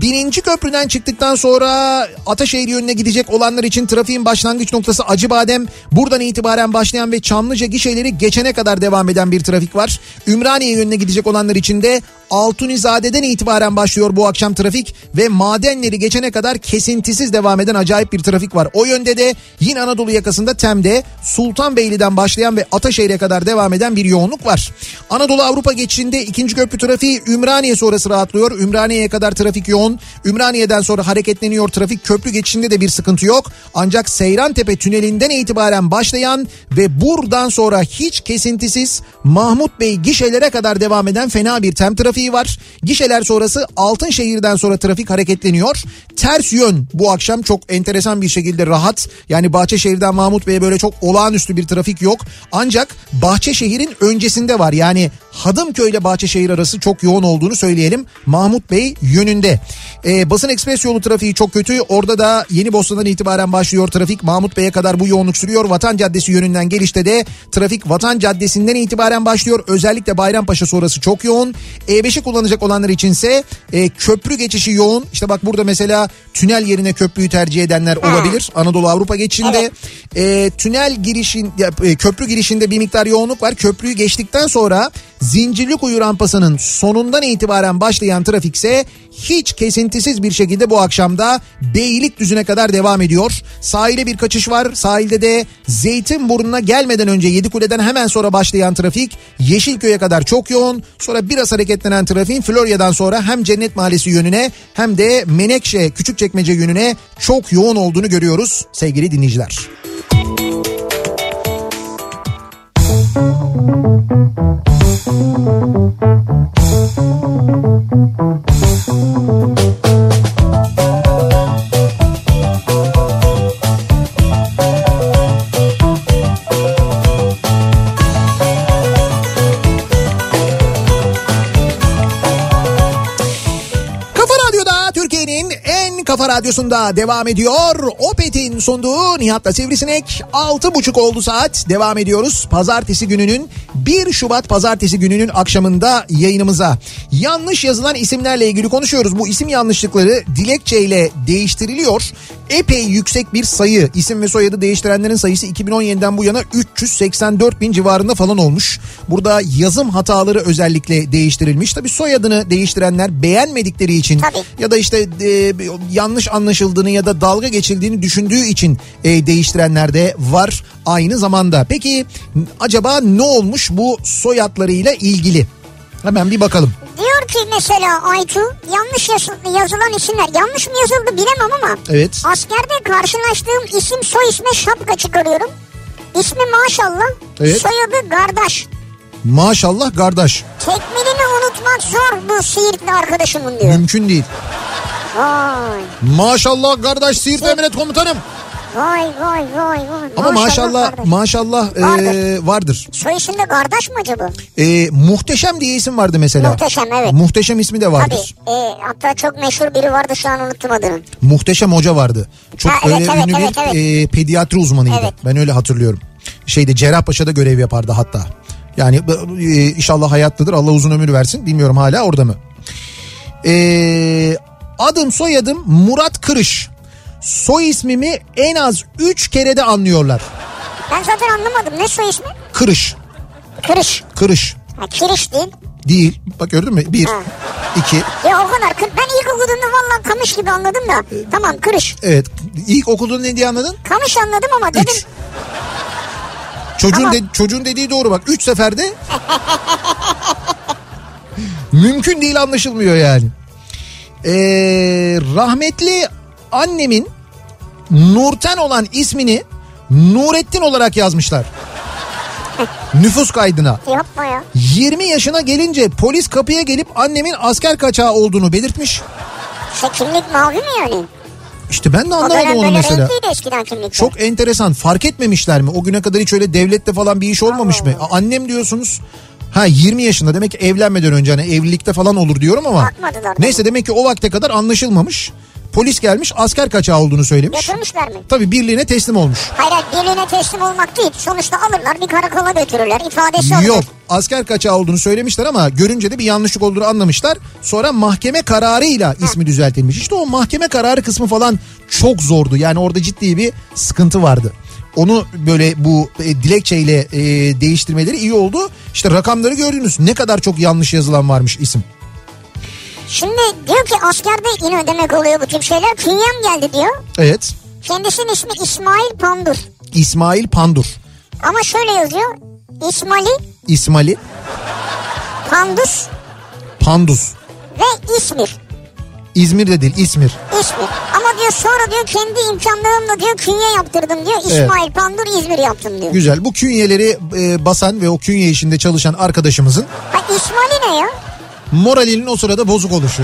birinci köprüden çıktıktan sonra Ataşehir yönüne gidecek olanlar için trafiğin başlangıç noktası Acıbadem. Buradan itibaren başlayan ve Çamlıca gişeleri geçene kadar devam eden bir trafik var. Ümraniye yönüne gidecek olanlar için de Altunizade'den itibaren başlıyor bu akşam trafik ve madenleri geçene kadar kesintisiz devam eden acayip bir trafik var. O yönde de yine Anadolu yakasında Tem'de Sultanbeyli'den başlayan ve Ataşehir'e kadar devam eden bir yoğunluk var. Anadolu Avrupa geçişinde ikinci köprü trafiği Ümraniye sonrası rahatlıyor. Ümraniye'ye kadar trafik yoğun. Ümraniye'den sonra hareketleniyor trafik. Köprü geçişinde de bir sıkıntı yok. Ancak Seyrantepe tünelinden itibaren başlayan ve buradan sonra hiç kesintisiz Mahmut Bey gişelere kadar devam eden fena bir tem trafiği var. Gişeler sonrası Altınşehir'den sonra trafik hareketleniyor. Ters yön bu akşam çok enteresan bir şekilde rahat. Yani Bahçeşehir'den Mahmut Bey'e böyle çok olağanüstü bir trafik yok. Ancak Bahçeşehir'in öncesinde var. Yani Hadımköy ile Bahçeşehir arası çok yoğun olduğunu söyleyelim. Mahmut Bey yönünde. Ee, basın ekspres yolu trafiği çok kötü. Orada da Yeni Bosna'dan itibaren başlıyor trafik. Mahmut Bey'e kadar bu yoğunluk sürüyor. Vatan Caddesi yönünden gelişte de trafik Vatan Caddesi'nden itibaren başlıyor. Özellikle Bayrampaşa sonrası çok yoğun. E5'i kullanacak olanlar içinse e, köprü geçişi yoğun. İşte bak burada mesela tünel yerine köprüyü tercih edenler olabilir. Anadolu Avrupa geçişinde e, tünel girişin ya, e, köprü girişinde bir miktar yoğunluk var. Köprüyü geçtikten sonra Zincirlikuyu rampasının sonundan itibaren başlayan trafikse hiç kesintisiz bir şekilde bu akşamda Beylikdüzü'ne kadar devam ediyor. Sahile bir kaçış var. Sahilde de Zeytinburnu'na gelmeden önce Yedikule'den hemen sonra başlayan trafik Yeşilköy'e kadar çok yoğun. Sonra biraz hareketlenen trafiğin Florya'dan sonra hem Cennet Mahallesi yönüne hem de Menekşe Küçükçekmece yönüne çok yoğun olduğunu görüyoruz sevgili dinleyiciler. Kafa Radyo'da Türkiye'nin en kafa radyosunda devam ediyor. Opet'in sunduğu Nihat'la Sivrisinek 6.30 oldu saat devam ediyoruz. Pazartesi gününün 1 Şubat pazartesi gününün akşamında yayınımıza. Yanlış yazılan isimlerle ilgili konuşuyoruz. Bu isim yanlışlıkları dilekçeyle değiştiriliyor. Epey yüksek bir sayı. İsim ve soyadı değiştirenlerin sayısı 2017'den bu yana 384 bin civarında falan olmuş. Burada yazım hataları özellikle değiştirilmiş. Tabii soyadını değiştirenler beğenmedikleri için Tabii. ya da işte e, yanlış anlaşıldığını ya da dalga geçildiğini düşündüğü için e, değiştirenler de var aynı zamanda. Peki acaba ne olmuş bu soyadlarıyla ilgili? Hemen bir bakalım. Diyor ki mesela Aytu yanlış yazı- yazılan isimler yanlış mı yazıldı bilemem ama Evet. askerde karşılaştığım isim soy isme şapka çıkarıyorum. İsmi maşallah Evet. soyadı kardeş. Maşallah kardeş. Tekmelini unutmak zor bu Siirtli arkadaşımın diyor. Mümkün değil. Vay Maşallah kardeş Siirt Emret Komutanım. vay vay vay. vay. Ama maşallah kardeş. maşallah e, Vardır. vardır. Soy isimde kardeş mi acaba? E, muhteşem diye isim vardı mesela. Muhteşem, evet. Muhteşem ismi de Tabii. vardır. e, hatta çok meşhur biri vardı şu an unuttum adını. Muhteşem hoca vardı. Çok Ha, evet, öyle evet, ünlü evet, bir evet. e, pediatri uzmanıydı. Evet. Ben öyle hatırlıyorum. Şeyde Cerrahpaşa'da görev yapardı hatta. Yani e, inşallah hayattadır. Allah uzun ömür versin. Bilmiyorum hala orada mı? E, adım soyadım Murat Kırış. Soy ismimi en az 3 kere de anlıyorlar. Ben zaten anlamadım. Ne soy ismi? Kırış. Kırış. Kırış. Ha, kiriş değil. Değil. Bak gördün mü? Bir. iki. Ya o kadar. kır- Ben ilk okuduğumda vallahi kamış gibi anladım da. Tamam kırış. Evet. İlk okulun ne diye anladın? Kamış anladım ama dedim. Üç. Çocuğun, Ama- de- çocuğun dediği doğru bak. Üç seferde. Mümkün değil anlaşılmıyor yani. Ee, rahmetli annemin Nurten olan ismini Nurettin olarak yazmışlar. Nüfus kaydına. "E, Yapma ya. 20 yaşına gelince polis kapıya gelip annemin asker kaçağı olduğunu belirtmiş. Şey kimlik mavi mi yani? İşte ben de O anlamadım dönem onu böyle mesela. renkliydi eskiden kimlikler. Çok enteresan. Fark etmemişler mi? O güne kadar hiç öyle devlette falan bir iş olmamış mı? A- Annem diyorsunuz. Ha 20 yaşında demek ki evlenmeden önce hani evlilikte falan olur diyorum ama. Bakmadılar. Neyse demek ki o vakte kadar anlaşılmamış. Polis gelmiş asker kaçağı olduğunu söylemiş. Yatırmışlar mı? Tabii birliğine teslim olmuş. Hayır hayır birliğine teslim olmak değil. Sonuçta alırlar bir karakola götürürler. İfadesi alınır. Yok asker kaçağı olduğunu söylemişler ama görünce de bir yanlışlık olduğunu anlamışlar. Sonra mahkeme kararıyla ismi düzeltilmiş. İşte o mahkeme kararı kısmı falan çok zordu. Yani orada ciddi bir sıkıntı vardı. Onu böyle bu e, dilekçeyle e, değiştirmeleri iyi oldu. İşte rakamları gördünüz. Ne kadar çok yanlış yazılan varmış isim. Şimdi diyor ki askerde yine ödemek oluyor bu tip şeyler. Künyem geldi diyor. Evet. Kendisinin ismi İsmail Pandur. İsmail Pandur. Ama şöyle yazıyor. İsmail İsmaili Pandur Pandus. ve İzmir. İzmir'de değil İzmir. İzmir. Ama diyor sonra diyor kendi imkanlarımla diyor künye yaptırdım diyor. İsmail Pandur İzmir yaptım diyor. Güzel. Bu künyeleri e, basan ve o künye işinde çalışan arkadaşımızın Ha İsmail ne ya? moralinin o sırada bozuk oluşu.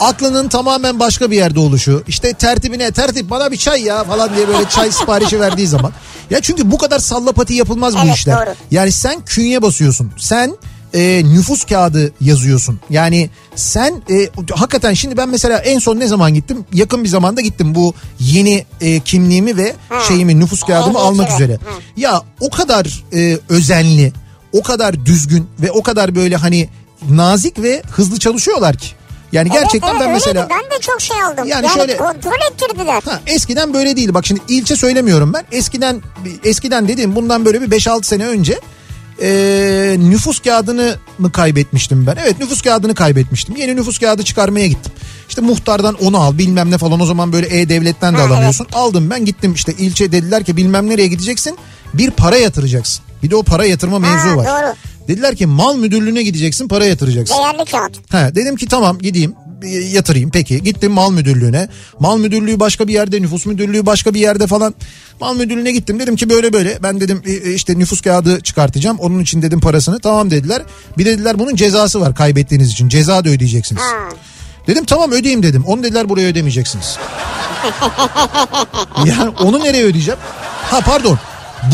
Aklının tamamen başka bir yerde oluşu. İşte tertibine tertip bana bir çay ya falan diye böyle çay siparişi verdiği zaman. Ya çünkü bu kadar sallapati yapılmaz bu Evet, işler. doğru. Yani sen künye basıyorsun. Sen e, nüfus kağıdı yazıyorsun. Yani sen e, hakikaten şimdi ben mesela en son ne zaman gittim? Yakın bir zamanda gittim bu yeni e, kimliğimi ve şeyimi nüfus kağıdımı Evet, almak evet. üzere. Hı. Ya o kadar e, özenli, o kadar düzgün ve o kadar böyle hani nazik ve hızlı çalışıyorlar ki. Yani gerçekten evet, ben evet, mesela öyleydi. Ben de çok şey aldım. Yani Yani, şöyle- kontrol ettirdiler. ha, eskiden böyle değildi. Bak şimdi ilçe söylemiyorum ben. Eskiden eskiden dediğim bundan böyle bir 5-6 sene önce e, nüfus kağıdını mı kaybetmiştim ben? Evet nüfus kağıdını kaybetmiştim. Yeni nüfus kağıdı çıkarmaya gittim. İşte muhtardan onu al bilmem ne falan o zaman böyle E-Devlet'ten de Ha, alamıyorsun. Aldım ben gittim işte ilçe dediler ki bilmem nereye gideceksin bir para yatıracaksın. Bir de o para yatırma mevzu var. doğru. Dediler ki mal müdürlüğüne gideceksin para yatıracaksın. Değerli kağıt. He, dedim ki tamam gideyim bir yatırayım peki gittim mal müdürlüğüne mal müdürlüğü başka bir yerde nüfus müdürlüğü başka bir yerde falan mal müdürlüğüne gittim dedim ki böyle böyle ben dedim e, e, işte nüfus kağıdı çıkartacağım onun için dedim parasını tamam dediler bir de dediler bunun cezası var kaybettiğiniz için ceza da ödeyeceksiniz dedim tamam ödeyeyim dedim onu dediler buraya ödemeyeceksiniz yani onu nereye ödeyeceğim ha pardon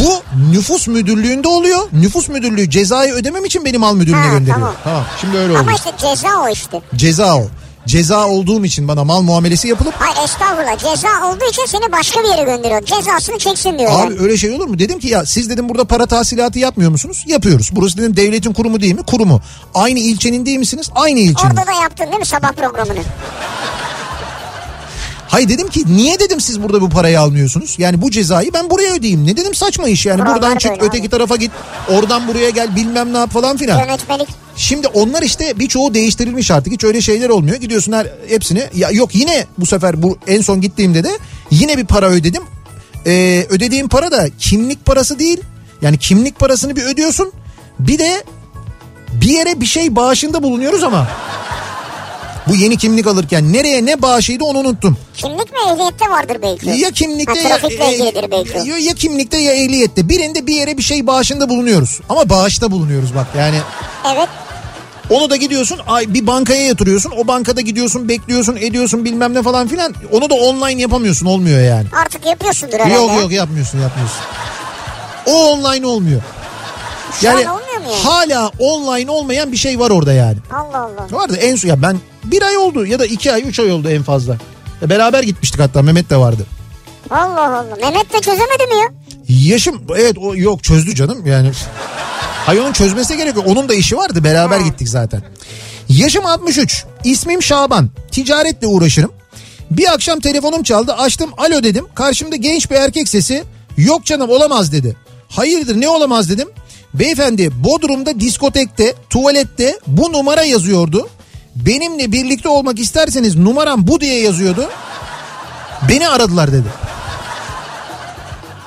bu nüfus müdürlüğünde oluyor nüfus müdürlüğü cezayı ödemem için beni mal müdürlüğüne Ha, gönderiyor tamam. tamam şimdi öyle oldu Ama işte ceza o işte. Ceza o. Ceza olduğum için bana mal muamelesi yapılıp Hayır estağfurullah ceza olduğu için seni başka bir yere gönderiyor. Cezasını çeksin diyor Abi yani. öyle şey olur mu? Dedim ki ya siz dedim burada para tahsilatı yapmıyor musunuz? Yapıyoruz. Burası dedim devletin kurumu değil mi? Kurumu. Aynı ilçenin değil misiniz? Aynı ilçenin. Orada da yaptın değil mi sabah programını? Hayır dedim ki niye dedim siz burada bu parayı almıyorsunuz? Yani bu cezayı ben buraya ödeyeyim. Ne dedim saçma iş yani. Kurallar Buradan çık böyle öteki abi. tarafa git. Oradan buraya gel bilmem ne yap falan filan. Yönetmelik. Şimdi onlar işte birçoğu değiştirilmiş artık. Hiç öyle şeyler olmuyor. Gidiyorsun her hepsini. Ya yok yine bu sefer bu en son gittiğimde de yine bir para ödedim. Ee, ödediğim para da kimlik parası değil. Yani kimlik parasını bir ödüyorsun. Bir de bir yere bir şey bağışında bulunuyoruz ama. Bu yeni kimlik alırken nereye ne bağışıydı onu unuttum. Kimlik mi ehliyette vardır belki. Ya kimlikte Ha, ya, e, trafikle ilgilidir belki. ya, ya kimlikte ya ehliyette. Birinde bir yere bir şey bağışında bulunuyoruz. Ama bağışta bulunuyoruz bak yani. Evet. Onu da gidiyorsun ay bir bankaya yatırıyorsun. O bankada gidiyorsun bekliyorsun ediyorsun bilmem ne falan filan. Onu da online yapamıyorsun olmuyor yani. Artık yapıyorsundur herhalde. Yok yok yapmıyorsun yapmıyorsun. O online olmuyor. Şu an olmuyor mu yani? hala online olmayan bir şey var orada yani. Allah Allah. Vardı en son ya ben bir ay oldu ya da iki ay üç ay oldu en fazla. Ya beraber gitmiştik hatta Mehmet de vardı. Allah Allah. Mehmet de çözemedi mi ya? Yaşım evet o yok çözdü canım yani. Hayır onun çözmesi gerekiyor. Onun da işi vardı beraber gittik zaten. Yaşım 63. İsmim Şaban. Ticaretle uğraşırım. Bir akşam telefonum çaldı. Açtım alo dedim. Karşımda genç bir erkek sesi. Yok canım olamaz dedi. Hayırdır ne olamaz dedim. Beyefendi Bodrum'da diskotekte tuvalette bu numara yazıyordu. Benimle birlikte olmak isterseniz numaram bu diye yazıyordu. Beni aradılar dedi.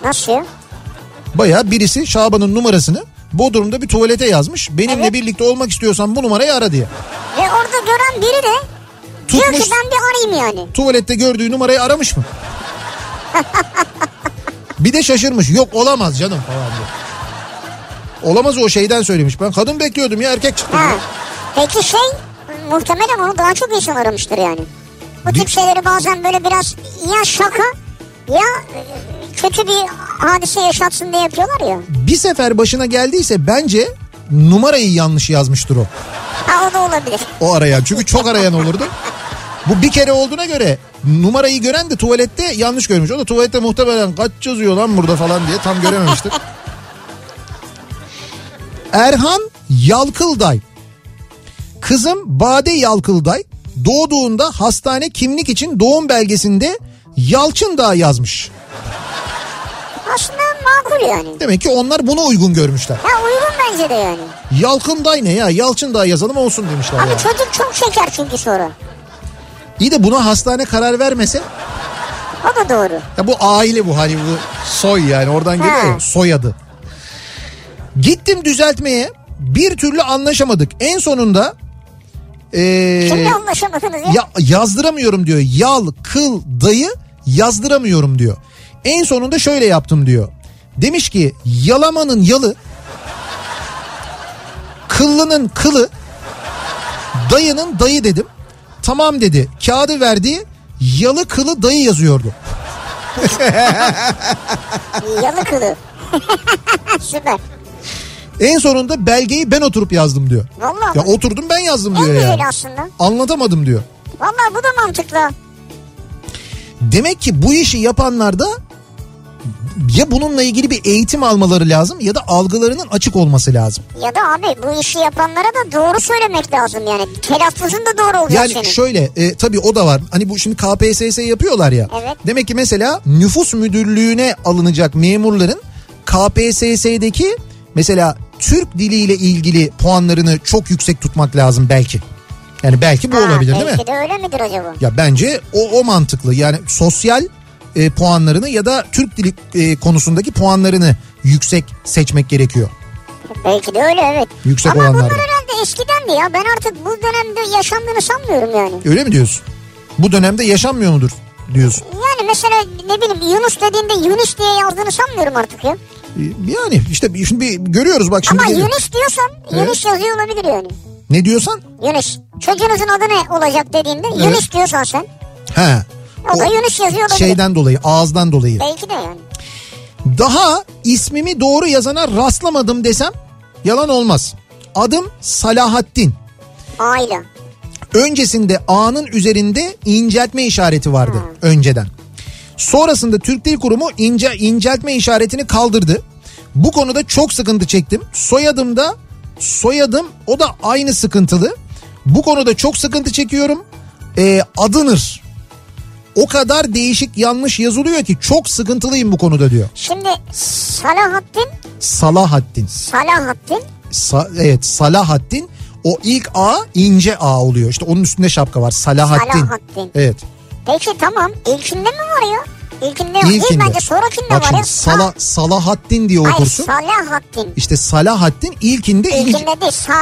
Nasıl ya? Baya birisi Şaban'ın numarasını Bodrum'da bir tuvalete yazmış. Benimle Evet. birlikte olmak istiyorsan bu numarayı ara diye. Ve orada gören biri de diyor Tutmuş. ki ben bir arayayım yani. Tuvalette gördüğü numarayı aramış mı? bir de şaşırmış. Yok olamaz canım falan diyor. Olamaz o şeyden söylemiş. Ben kadın bekliyordum ya erkek çıktı. Ha. Peki şey muhtemelen onu daha çok insan aramıştır yani. Bu Bi- tip şeyleri bazen böyle biraz ya şaka ya e, kötü bir hadise yaşatsın diye yapıyorlar ya. Bir sefer başına geldiyse bence numarayı yanlış yazmıştır o. Ha o da olabilir. O arayan. Çünkü çok arayan olurdu. Bu bir kere olduğuna göre numarayı gören de tuvalette yanlış görmüş. O da tuvalette muhtemelen kaç yazıyor lan burada falan diye tam görememişti. Erhan Yalkılday. Kızım Bade Yalkılday doğduğunda hastane kimlik için doğum belgesinde Yalçın Dağı yazmış. Aslında makul yani. Demek ki onlar bunu uygun görmüşler. Ha uygun bence de yani. Yalkın Day ne ya? Yalçın Dağı yazalım olsun demişler. Abi ya. çocuk çok şeker çünkü sonra. İyi de buna hastane karar vermese O da doğru. Ya bu aile bu hani bu soy yani oradan geliyor ya Ha. soyadı. Gittim düzeltmeye bir türlü anlaşamadık. En sonunda eee, Kimle anlaşamadınız ya? ya, yazdıramıyorum diyor. Yal, kıl, dayı yazdıramıyorum diyor. En sonunda şöyle yaptım diyor. Demiş ki yalamanın yalı, kıllının kılı, dayının dayı dedim. Tamam dedi. Kağıdı verdi. Yalı kılı dayı yazıyordu. Yalı kılı. Süper. En sonunda belgeyi ben oturup yazdım diyor. Vallahi Ya bak. oturdum ben yazdım En diyor güzeli yani. aslında. Anlatamadım diyor. Vallahi bu da mantıklı. Demek ki bu işi yapanlarda ya bununla ilgili bir eğitim almaları lazım ya da algılarının açık olması lazım. Ya da abi bu işi yapanlara da doğru söylemek lazım yani. Telaffuzun da doğru olacak Yani senin. şöyle e, tabii o da var. Hani bu şimdi KPSS yapıyorlar ya. Evet. Demek ki mesela nüfus müdürlüğüne alınacak memurların KPSS'deki mesela Türk diliyle ilgili puanlarını çok yüksek tutmak lazım belki. Yani belki bu Ha, olabilir değil mi? belki de öyle midir acaba? Ya bence o o mantıklı. Yani sosyal e, puanlarını ya da Türk dili e, konusundaki puanlarını yüksek seçmek gerekiyor. Belki de öyle evet. Yüksek Ama olanlar. bunlar herhalde eskidendi ya. Ben artık bu dönemde yaşandığını sanmıyorum yani. Öyle mi diyorsun? Bu dönemde yaşanmıyor mudur diyorsun? Yani mesela ne bileyim Yunus dediğinde Yunus diye yazdığını sanmıyorum artık ya. E, Yani işte bir- şimdi bir görüyoruz bak şimdi Ama geliyor. Yunus diyorsan Yunus yazıyor olabilir yani. ne diyorsan? Yunus. Çocuğunuzun adı ne olacak dediğinde Yunus diyorsan sen. He. O, da Yunus yazıyor olabilir. şeyden dolayı, ağızdan dolayı. Belki de yani. Daha ismimi doğru yazana rastlamadım desem yalan olmaz. Adım Salahattin. Aile. Öncesinde A'nın üzerinde inceltme işareti vardı önceden. Sonrasında Türk Dil Kurumu ince inceltme işaretini kaldırdı. Bu konuda çok sıkıntı çektim. Soyadımda soyadım o da aynı sıkıntılı. Bu konuda çok sıkıntı çekiyorum. Ee, adınır. O kadar değişik yanlış yazılıyor ki çok sıkıntılıyım bu konuda diyor. Şimdi Salahattin, Salahattin. Salahattin Sa- evet Salahattin. O ilk A ince A oluyor. İşte onun üstünde şapka var. Salahattin. Salahattin. Evet. Peki tamam. İlkinde mi var ya? İlkinde yok. İlk İlkinde. bence sonrakinde Bak var ya. şimdi Sala, Sa- Salahattin diye Hayır okursun. Salahattin. İşte Salahattin ilkinde ilk İlkinde değil sa.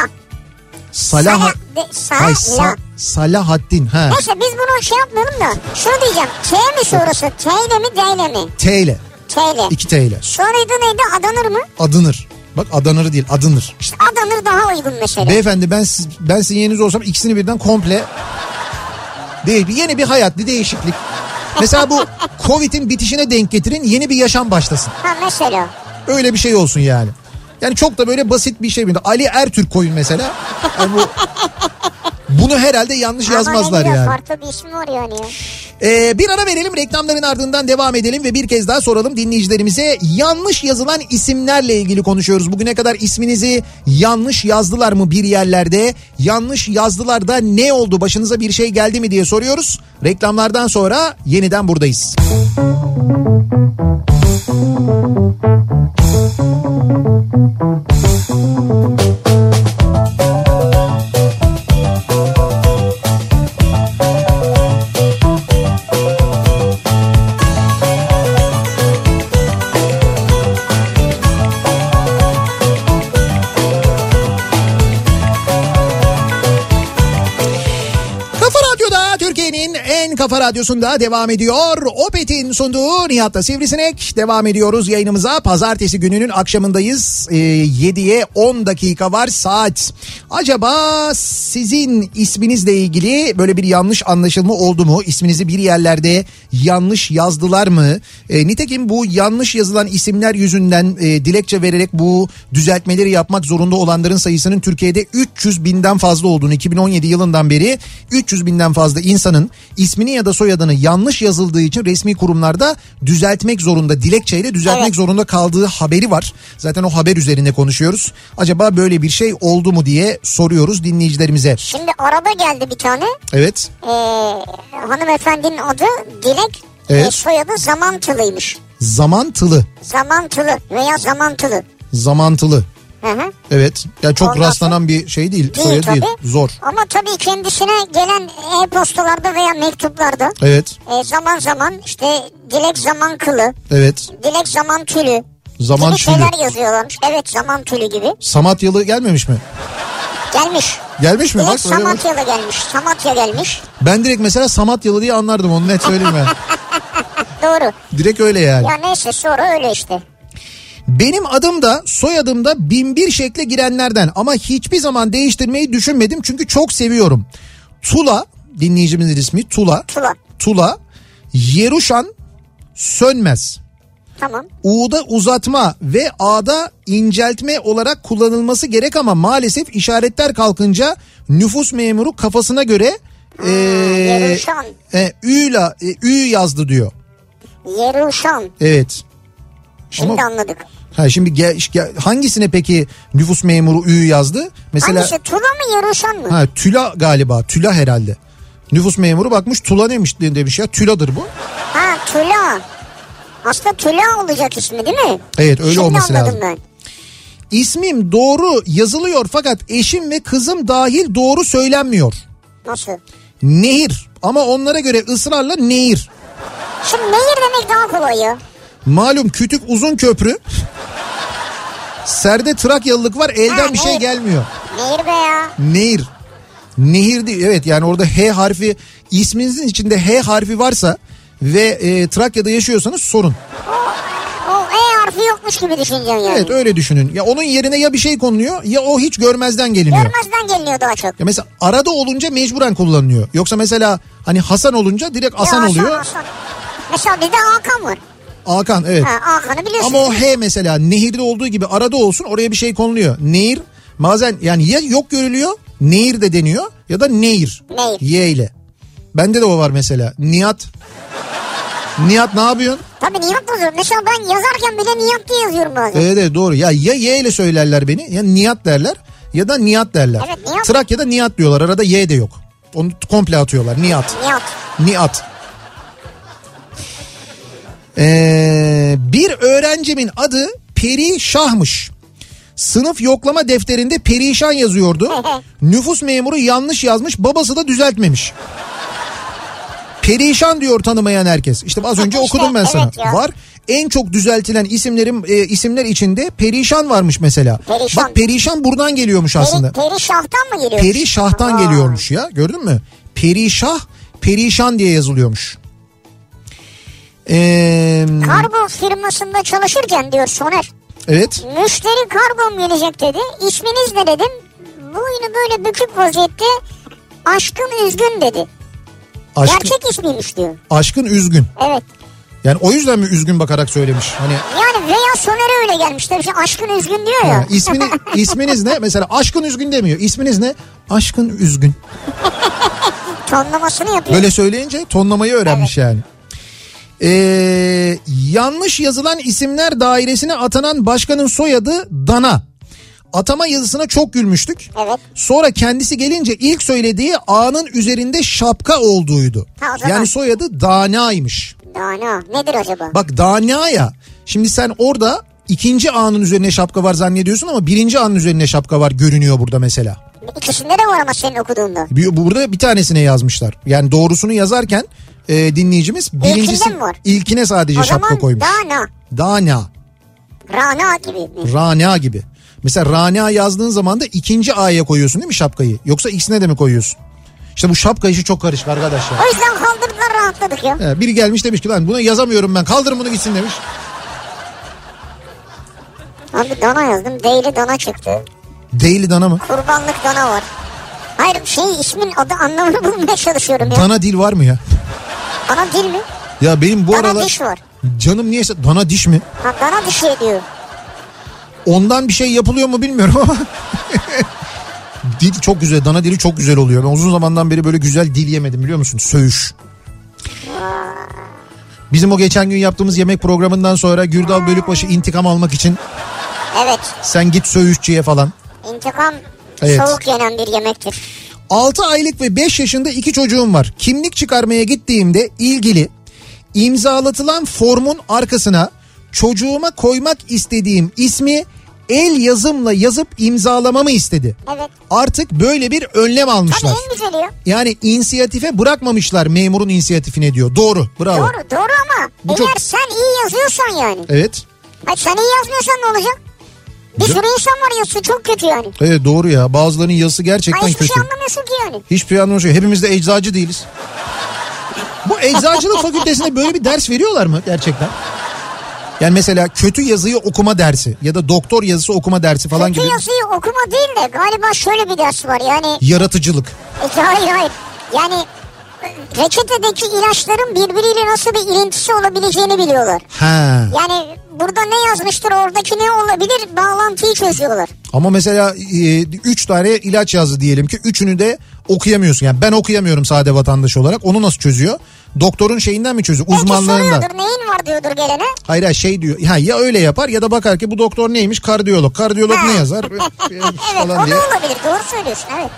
Salah Sala- de- sa- Hayır, Sa- la. Salahattin ha. Neyse biz bunu şey yapmayalım da. Şunu diyeceğim. T mi sorusu? T ile mi D ile mi? T ile T ile. iki T ile Sonraydı neydi? Adanır mı? adınır. Bak Adanır değil adınır. İşte adanır daha uygun mesela. Beyefendi ben siz, ben sizin yeriniz olsam ikisini birden komple değil bir yeni bir hayat bir değişiklik. Mesela bu Covid'in bitişine denk getirin yeni bir yaşam başlasın. ha mesela. Öyle bir şey olsun yani. Yani çok da böyle basit bir şey. Ali Ertürk koyun mesela. Yani bu, bunu herhalde yanlış yazmazlar Ama ne güzel, yani. Farklı bir isim var yani. ya. Ee, bir ara verelim reklamların ardından devam edelim ve bir kez daha soralım dinleyicilerimize yanlış yazılan isimlerle ilgili konuşuyoruz. Bugüne kadar isminizi yanlış yazdılar mı bir yerlerde? Yanlış yazdılar da ne oldu? Başınıza bir şey geldi mi diye soruyoruz. Reklamlardan sonra yeniden buradayız. Kafa Radyosu'nda devam ediyor. Opet'in sunduğu Nihat'la Sivrisinek. Devam ediyoruz yayınımıza. Pazartesi gününün akşamındayız. Ee, 7'ye 10 dakika var saat. Acaba sizin isminizle ilgili böyle bir yanlış anlaşılma oldu mu? İsminizi bir yerlerde yanlış yazdılar mı? Ee, nitekim bu yanlış yazılan isimler yüzünden e, dilekçe vererek bu düzeltmeleri yapmak zorunda olanların sayısının Türkiye'de 300 binden fazla olduğunu 2017 yılından beri 300 binden fazla insanın ismini ya da soyadını yanlış yazıldığı için resmi kurumlarda düzeltmek zorunda dilekçeyle düzeltmek Evet. zorunda kaldığı haberi var. Zaten o haber üzerine konuşuyoruz. Acaba böyle bir şey oldu mu diye soruyoruz dinleyicilerimize. Şimdi araba geldi bir tane. Evet. Ee, hanımefendinin adı Dilek. Evet. e, soyadı Zamantılı'ymış. Zamantılı. Zamantılı veya Zamantılı. Zamantılı. Hı hı. Evet. Ya çok Ondan sonra- rastlanan bir şey değil. Değil soyadı tabii. değil. Zor. Ama tabii kendisine gelen e-postalarda veya mektuplarda Evet. e, zaman zaman işte Dilek Zaman Kılı, Evet. Dilek Zaman Tülü Zaman gibi tülü. şeyler yazıyorlarmış. Evet Zaman Tülü gibi. Samatyalı gelmemiş mi? Gelmiş. Gelmiş mi? Dilek Bak öyle bak. Samatyalı gelmiş. Samatya gelmiş. Ben direkt mesela Samatyalı diye anlardım onu net söyleyeyim ben. Doğru. direkt öyle yani. Ya neyse sonra öyle işte. Benim adım da soyadım da binbir şekle girenlerden ama hiçbir zaman değiştirmeyi düşünmedim çünkü çok seviyorum. Tula dinleyicimizin ismi Tula. Tula. Tula Yeruşan Sönmez. Tamam. U'da uzatma ve A'da inceltme olarak kullanılması gerek ama maalesef işaretler kalkınca nüfus memuru kafasına göre e, Hmm, Yeruşan. e, Ü'la e, Ü yazdı diyor. Yeruşan. Evet. Şimdi Ama- anladık. Ha şimdi gel, gel- hangisine peki nüfus memuru Ü yazdı? Mesela Hangisi Tula mı Yeruşan mı? ha Tüla galiba. Tüla herhalde. Nüfus memuru bakmış Tula neymiş de- demiş ya. Tüladır bu. Ha Tula. Aslında Tula olacak ismi değil mi? Evet, öyle Şimdi olması lazım. anladım ben. İsmim doğru yazılıyor fakat eşim ve kızım dahil doğru söylenmiyor. Nasıl? Nehir ama onlara göre ısrarla nehir. Şimdi nehir demek daha kolay ya. Malum kütük uzun köprü. Serde Trakyalılık var elden Ha, bir şey nehir. gelmiyor. Nehir be ya. Nehir. Nehir değil evet yani orada H harfi isminizin içinde H harfi varsa ve e, Trakya'da yaşıyorsanız sorun. O E harfi yokmuş gibi düşüneceksin yani. Evet öyle düşünün. Ya onun yerine ya bir şey konuluyor ya o hiç görmezden geliniyor. Görmezden geliniyor daha çok. Ya mesela arada olunca mecburen kullanılıyor. Yoksa mesela hani Hasan olunca direkt Hasan Ya oluyor. Hasan. Mesela bizde Hakan var. Hakan evet. Ha, Hakan'ı biliyorsun. Ama o H mesela nehirde olduğu gibi arada olsun oraya bir şey konuluyor. Nehir bazen yani ya yok görülüyor nehir de deniyor ya da nehir. Nehir. Y ile. Bende de o var mesela. Nihat. Nihat ne yapıyorsun? Tabii Nihat yazıyorum. Mesela ben yazarken bile Nihat diye yazıyorum bazen. Evet evet doğru. Ya ya Y ile söylerler beni ya Nihat derler ya da Nihat derler. Evet, Nihat. Trakya'da Nihat diyorlar. Arada Y de yok. Onu komple atıyorlar. Nihat. Nihat. Nihat. Ee, bir öğrencimin adı Peri Şah'mış. Sınıf yoklama defterinde perişan yazıyordu. Nüfus memuru yanlış yazmış, babası da düzeltmemiş. Perişan diyor tanımayan herkes. İşte az önce İşte, okudum ben evet sana. ya. Var. En çok düzeltilen isimlerim e, isimler içinde perişan varmış mesela. Perişan. Bak perişan buradan geliyormuş aslında. Peri, peri Şah'tan mı geliyor? Peri Şah'tan Aa. geliyormuş ya gördün mü? Perişah, perişan diye yazılıyormuş. Ee, Kargo firmasında çalışırken diyor Soner. evet. Müşteri kargom gelecek dedi. İsminiz ne dedim. Boynu böyle bükük vaziyette aşkın üzgün dedi. Aşkın, Gerçek ismiymiş diyor. aşkın üzgün. Evet. Yani o yüzden mi üzgün bakarak söylemiş? Hani Yani veya Soner'e öyle gelmiş. Tabii ki aşkın üzgün diyor ya. ha, ismini, isminiz ne? Mesela aşkın üzgün demiyor. İsminiz ne? Aşkın üzgün. Tonlamasını yapıyor. Böyle söyleyince tonlamayı öğrenmiş yani. Ee, yanlış yazılan isimler dairesine atanan başkanın soyadı Dana. Atama yazısına çok gülmüştük. Evet. Sonra kendisi gelince ilk söylediği A'nın üzerinde şapka olduğuydu. Ha, o zaman. yani soyadı Dana'ymış. Dana nedir acaba? Bak Dana'ya şimdi sen orada ikinci A'nın üzerine şapka var zannediyorsun ama birinci A'nın üzerine şapka var görünüyor burada mesela. İkisinde de var ama senin okuduğunda. Bir- Burada bir tanesine yazmışlar. Yani doğrusunu yazarken e, dinleyicimiz birincisi mi var? ilkine sadece O şapka zaman koymuş. Dana. Dana, Rana gibi. Rana gibi. Mesela Rana yazdığın zaman da ikinci A'ya koyuyorsun değil mi şapkayı? Yoksa ikisine de mi koyuyorsun? İşte bu şapka işi çok karışık arkadaş ya. O yüzden kaldırdılar kadar rahatladık ya. He, Ee, biri gelmiş demiş ki ben bunu yazamıyorum ben kaldırın bunu gitsin demiş. Abi dana yazdım. Daily dana çıktı. Daily dana mı? Kurbanlık dana var. Hayır şey ismin adı anlamını bulmaya çalışıyorum ya. Dana dil var mı ya? Dana dil mi? Ya benim bu Dana aralar... diş var. Canım niyeyse dana diş mi? Ha, dana dişi ediyor. Ondan bir şey yapılıyor mu bilmiyorum ama... dil çok güzel. Dana dili çok güzel oluyor. Ben uzun zamandan beri böyle güzel dil yemedim biliyor musun? Söğüş. Bizim o geçen gün yaptığımız yemek programından sonra Gürdal Bölükbaşı intikam almak için Evet. sen git söğüşçüye falan. İntikam Evet. soğuk yenen bir yemektir. 6 aylık ve 5 yaşında iki çocuğum var. Kimlik çıkarmaya gittiğimde ilgili imzalatılan formun arkasına çocuğuma koymak istediğim ismi el yazımla yazıp imzalamamı istedi. Evet. Artık böyle bir önlem Tabii almışlar. en güzeli ya. Yani inisiyatife bırakmamışlar memurun inisiyatifine diyor. Doğru. Bravo. Doğru doğru ama Bu eğer çok- sen iyi yazıyorsan yani. Evet. Hayır sen iyi yazmıyorsan ne olacak? Bir Güzel. sürü insan var yazısı çok kötü yani. Evet doğru ya. Bazılarının yazısı gerçekten Ay hiçbir kötü. şey anlamıyorsun ki yani. Hiçbir şey anlamıyorum. Hepimiz de eczacı değiliz. Bu eczacılık fakültesinde böyle bir ders veriyorlar mı gerçekten? Yani mesela kötü yazıyı okuma dersi ya da doktor yazısı okuma dersi falan Kötü gibi yazıyı okuma değil de galiba şöyle bir ders var yani. yaratıcılık. E, hayır hayır. Yani e, reçetedeki ilaçların birbiriyle nasıl bir ilintisi olabileceğini biliyorlar. Ha. Yani burada ne yazmıştır oradaki ne olabilir bağlantıyı çözüyorlar. Ama mesela 3 tane ilaç yazdı diyelim ki üçünü de okuyamıyorsun. Yani ben okuyamıyorum sade vatandaş olarak. Onu nasıl çözüyor? Doktorun şeyinden mi çözüyor? Belki Uzmanlığından. soruyordur neyin var diyordur gelene. Hayır hayır şey diyor. Ha, ya öyle yapar ya da bakar ki bu doktor neymiş? Kardiyolog. Kardiyolog ne yazar? evet o falan da diye. olabilir doğru söylüyorsun evet.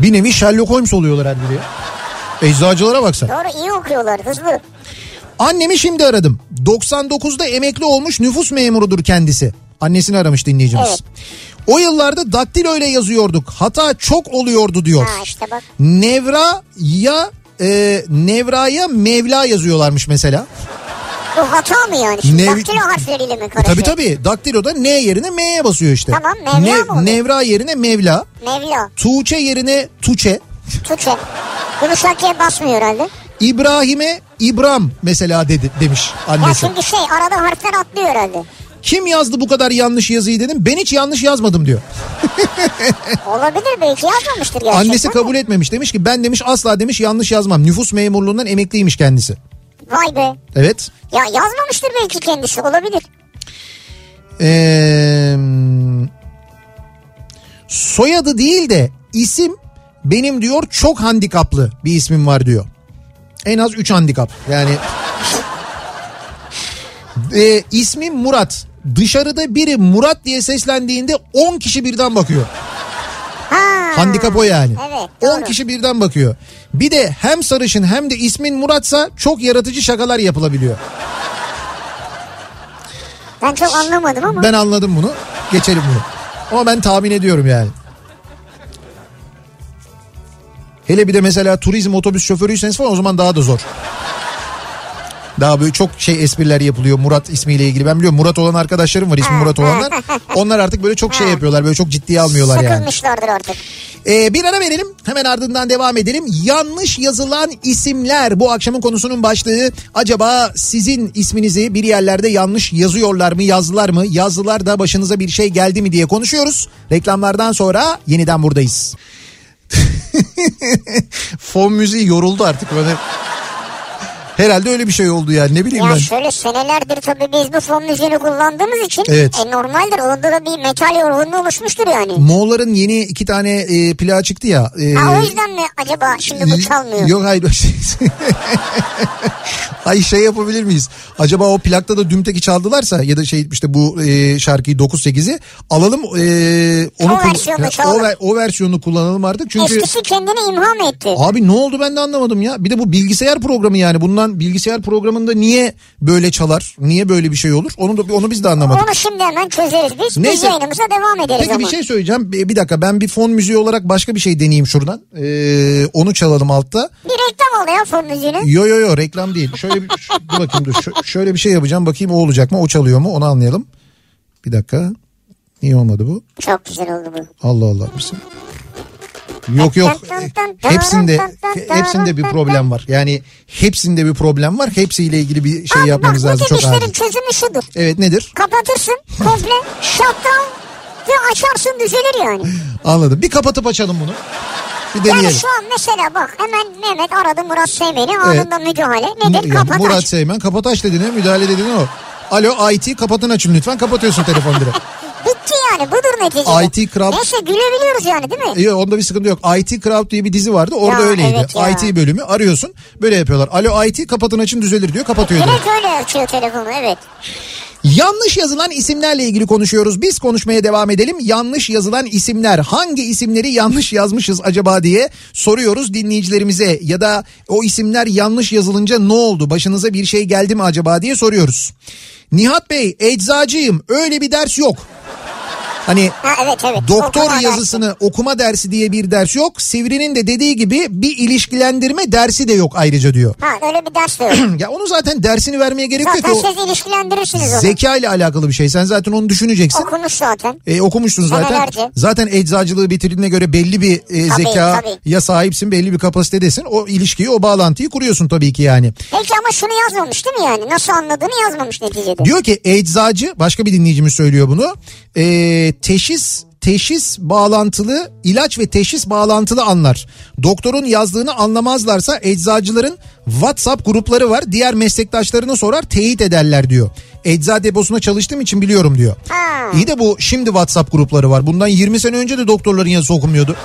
Bir nevi Sherlock Holmes oluyorlar halbuki. Eczacılara baksan. Doğru iyi okuyorlar hızlı. Annemi şimdi aradım. 99'da emekli olmuş nüfus memurudur kendisi. Annesini aramış dinleyicimiz. Evet. O yıllarda daktilo ile yazıyorduk. Hata çok oluyordu diyor. Ha işte bak. Nevra ya e, Nevra'ya Mevla yazıyorlarmış mesela. E, Bu hata mı yani? Şimdi Ne- daktilo harfleriyle mi karışıyor? Tabii tabii. Daktiloda N yerine M'ye basıyor işte. Tamam, Mevla mı oluyor? Nevra yerine Mevla. Mevla, Tuğçe yerine Tuçe. Tuğçe. Yumuşak ye basmıyor herhalde. İbrahim'e İbram mesela dedi demiş Ya annesi. şimdi şey arada harfler atlıyor herhalde. Kim yazdı bu kadar yanlış yazıyı dedim. Ben hiç yanlış yazmadım diyor. Olabilir belki yazmamıştır gerçekten. Annesi kabul etmemiş. Demiş ki ben demiş asla demiş yanlış yazmam. Nüfus memurluğundan emekliymiş kendisi. Vay be. Evet. Ya yazmamıştır belki kendisi olabilir. Ee, soyadı değil de isim benim diyor çok handikaplı bir ismim var diyor. En az 3 handikap. Yani Ee, ismim Murat. Dışarıda biri Murat diye seslendiğinde 10 kişi birden bakıyor. Ha. Handikap o yani. Evet, 10 doğru. kişi birden bakıyor. Bir de hem sarışın hem de ismin Murat'sa çok yaratıcı şakalar yapılabiliyor. Ben çok anlamadım ama. Ben anladım bunu. Geçelim bunu. Ama ben tahmin ediyorum yani. Hele bir de mesela turizm otobüs şoförüyseniz falan o zaman daha da zor. Daha böyle çok şey espriler yapılıyor Murat ismiyle ilgili. Ben biliyorum Murat olan arkadaşlarım var ismi Murat olanlar. Onlar artık böyle çok şey yapıyorlar. Böyle çok ciddiye almıyorlar yani. Sıkılmışlardır artık. Ee, bir ara verelim hemen ardından devam edelim. Yanlış yazılan isimler bu akşamın konusunun başlığı. Acaba sizin isminizi bir yerlerde yanlış yazıyorlar mı yazdılar mı? Yazdılar da başınıza bir şey geldi mi diye konuşuyoruz. Reklamlardan sonra yeniden buradayız. Fon müziği yoruldu artık böyle. Herhalde öyle bir şey oldu yani ne bileyim Ya ben. şöyle senelerdir tabii biz bu fon müziğini kullandığımız için Evet. e, normaldir. Onda da bir metal yorgunluğu oluşmuştur yani. Moğolların yeni iki tane e, plağı çıktı ya. e, Ha, o yüzden mi acaba şimdi bu çalmıyor? Yok hayır. Ay şey yapabilir miyiz? Acaba o plakta da dümteki çaldılarsa ya da şey işte bu e, şarkıyı 9-8'i alalım. E, onu O kullan- versiyonla Ha, çalalım. o, ver- o versiyonu kullanalım artık. Çünkü Eskisi kendini imha mı etti? abi ne oldu ben de anlamadım ya. Bir de bu bilgisayar programı yani. Bundan bilgisayar programında niye böyle çalar? Niye böyle bir şey olur? Onu da onu biz de anlamadık. Onu şimdi hemen çözeriz biz. Biz Neyse. yayınımıza devam ederiz Peki ama. bir şey söyleyeceğim. Bir bir dakika ben bir fon müziği olarak başka bir şey deneyeyim şuradan. E, onu çalalım altta. Bir reklam oldu ya fon müziğini. Yo yo yo reklam değil. Şöyle bir ş- dur bakayım dur. Ş- şöyle bir şey yapacağım. Bakayım o olacak mı? O çalıyor mu? Onu anlayalım. Bir dakika. Niye olmadı bu? Çok güzel oldu bu. Allah Allah. Bir saniye. Yok yok hepsinde hepsinde bir problem var. Yani hepsinde bir problem var. Hepsiyle ilgili bir şey Abi yapmanız bak, lazım bu çok tür acil. işlerin çözümü şudur. Evet nedir? Kapatırsın komple shutdown ve açarsın düzelir yani. Anladım. Bir kapatıp açalım bunu. Bir Yani deneyelim. şu an mesela bak hemen Mehmet aradı Murat Seymen'i anında müdahale. Nedir Ya, kapat Murat aç. Seymen kapat aç dediğine müdahale dediğine o. Alo IT kapatın açın lütfen kapatıyorsun telefonu direkt. Bitti yani budur neticede. IT kral- Neyse gülebiliyoruz yani değil mi? Ee, onda bir sıkıntı yok. IT Crowd diye bir dizi vardı. Orada Ya, öyleydi. evet ya. IT bölümü arıyorsun. Böyle yapıyorlar. Alo IT kapatın açın düzelir diyor. Kapatıyor direkt. Direkt öyle açıyor telefonu evet. Yanlış yazılan isimlerle ilgili konuşuyoruz. Biz konuşmaya devam edelim. Yanlış yazılan isimler hangi isimleri yanlış yazmışız acaba diye soruyoruz dinleyicilerimize ya da o isimler yanlış yazılınca ne oldu? Başınıza bir şey geldi mi acaba diye soruyoruz. Nihat Bey eczacıyım öyle bir ders yok. Hani Ha evet evet. Doktor Okuma yazısını okuma dersi diye bir ders yok. Sivri'nin de dediği gibi bir ilişkilendirme dersi de yok ayrıca diyor. dersi. Ha öyle bir ders de yok. Ya onu zaten dersini vermeye gerek yok. ki. zaten şey O siz ilişkilendirirsiniz onu. zeka ile alakalı bir şey. Sen zaten onu düşüneceksin. Okumuş zaten. E, okumuşsun zaten. Senelerce. Zaten eczacılığı bitirdiğine göre belli bir e, Tabii, zekaya sahipsin, belli bir kapasitedesin. O ilişkiyi, o bağlantıyı kuruyorsun tabii ki yani. Peki ama şunu yazmamış değil mi yani? Nasıl anladığını yazmamış neticede. Diyor ki eczacı başka bir dinleyicimiz söylüyor bunu. Ee, teşhis teşhis bağlantılı ilaç ve teşhis bağlantılı anlar. Doktorun yazdığını anlamazlarsa eczacıların WhatsApp grupları var. Diğer meslektaşlarına sorar teyit ederler diyor. Ecza deposunda çalıştığım için biliyorum diyor. Ha. İyi de bu şimdi WhatsApp grupları var. Bundan 20 sene önce de doktorların yazısı okunmuyordu.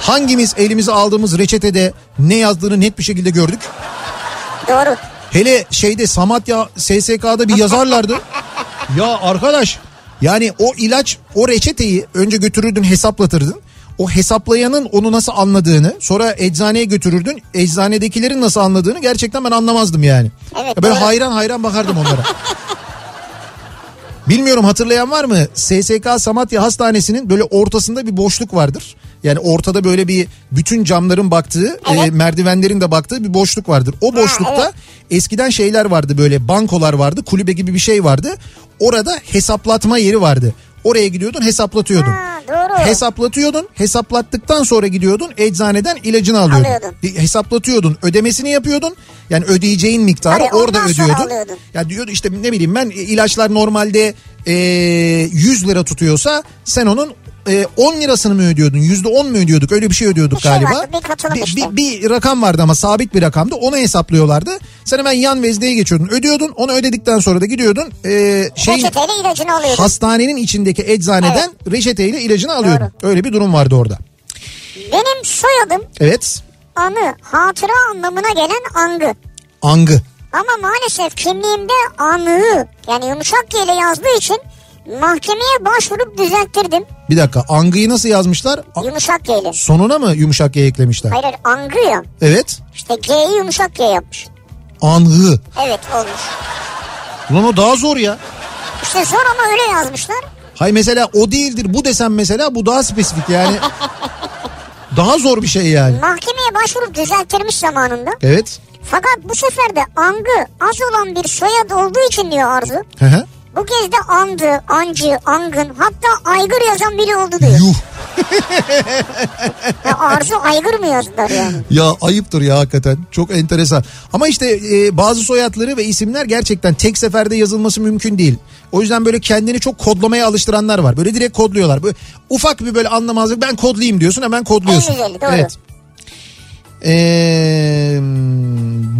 Hangimiz elimize aldığımız reçetede ne yazdığını net bir şekilde gördük. Doğru. Hele şeyde Samatya SSK'da bir yazarlardı. ya arkadaş yani o ilaç o reçeteyi önce götürürdün hesaplatırdın. O hesaplayanın onu nasıl anladığını sonra eczaneye götürürdün. Eczanedekilerin nasıl anladığını gerçekten ben anlamazdım yani. Evet, Ya böyle doğru. hayran hayran bakardım onlara. Bilmiyorum hatırlayan var mı? SSK Samatya Hastanesi'nin böyle ortasında bir boşluk vardır. Yani ortada böyle bir bütün camların baktığı, Evet. e, merdivenlerin de baktığı bir boşluk vardır. O boşlukta eskiden şeyler vardı böyle bankolar vardı, kulübe gibi bir şey vardı. Orada hesaplatma yeri vardı. Oraya gidiyordun hesaplatıyordun. Ha, doğru. Hesaplatıyordun. Hesaplattıktan sonra gidiyordun eczaneden ilacını alıyordun. Alıyordun. Bir Hesaplatıyordun. Ödemesini yapıyordun. Yani ödeyeceğin miktarı Tabii, orada ondan sonra ödüyordun. alıyordun. Ya diyordu işte ne bileyim ben e, ilaçlar normalde e, 100 lira tutuyorsa sen onun e, 10 lirasını mı ödüyordun? %10 mu ödüyorduk? Öyle bir şey ödüyorduk Bir şey galiba. vardı, bir katılım bir, işte. bir- bir rakam vardı ama sabit bir rakamdı. Onu hesaplıyorlardı. Sen hemen yan vezdeye geçiyordun. Ödüyordun. Onu ödedikten sonra da gidiyordun. E, şeyin, Reçeteyle ilacını alıyordun. hastanenin içindeki eczaneden reçeteyle ilacını alıyordun. Öyle bir durum vardı orada. Benim soyadım Evet. anı, hatıra anlamına gelen angı. Angı. Ama maalesef kimliğimde anı yani yumuşak G ile yazdığı için mahkemeye başvurup düzelttirdim. Bir dakika. Angı'yı nasıl yazmışlar? A- Yumuşak G ile. Sonuna mı yumuşak G eklemişler? Hayır hayır angı ya. Evet. İşte G'yi yumuşak G yapmış. Angı. Evet olmuş. Ulan o daha zor ya. İşte zor ama öyle yazmışlar. Hay mesela o değildir bu desem mesela bu daha spesifik yani. daha zor bir şey yani. Mahkemeye başvurup düzelttirmiş zamanında. Evet. Fakat bu sefer de angı az olan bir soyad olduğu için diyor Arzu. Hı hı. Bu kez de andı, ancı, angın hatta aygır yazan biri oldu diyor. Yuh. Ya Arzu aygır mı yazdılar yani? Ya ayıptır ya hakikaten. Çok enteresan. Ama işte e, bazı soyadları ve isimler gerçekten tek seferde yazılması mümkün değil. O yüzden böyle kendini çok kodlamaya alıştıranlar var. Böyle direkt kodluyorlar. Böyle ufak bir böyle anlamazlık ben kodlayayım diyorsun hemen kodluyorsun. En güzeli, doğru. Evet. Ee,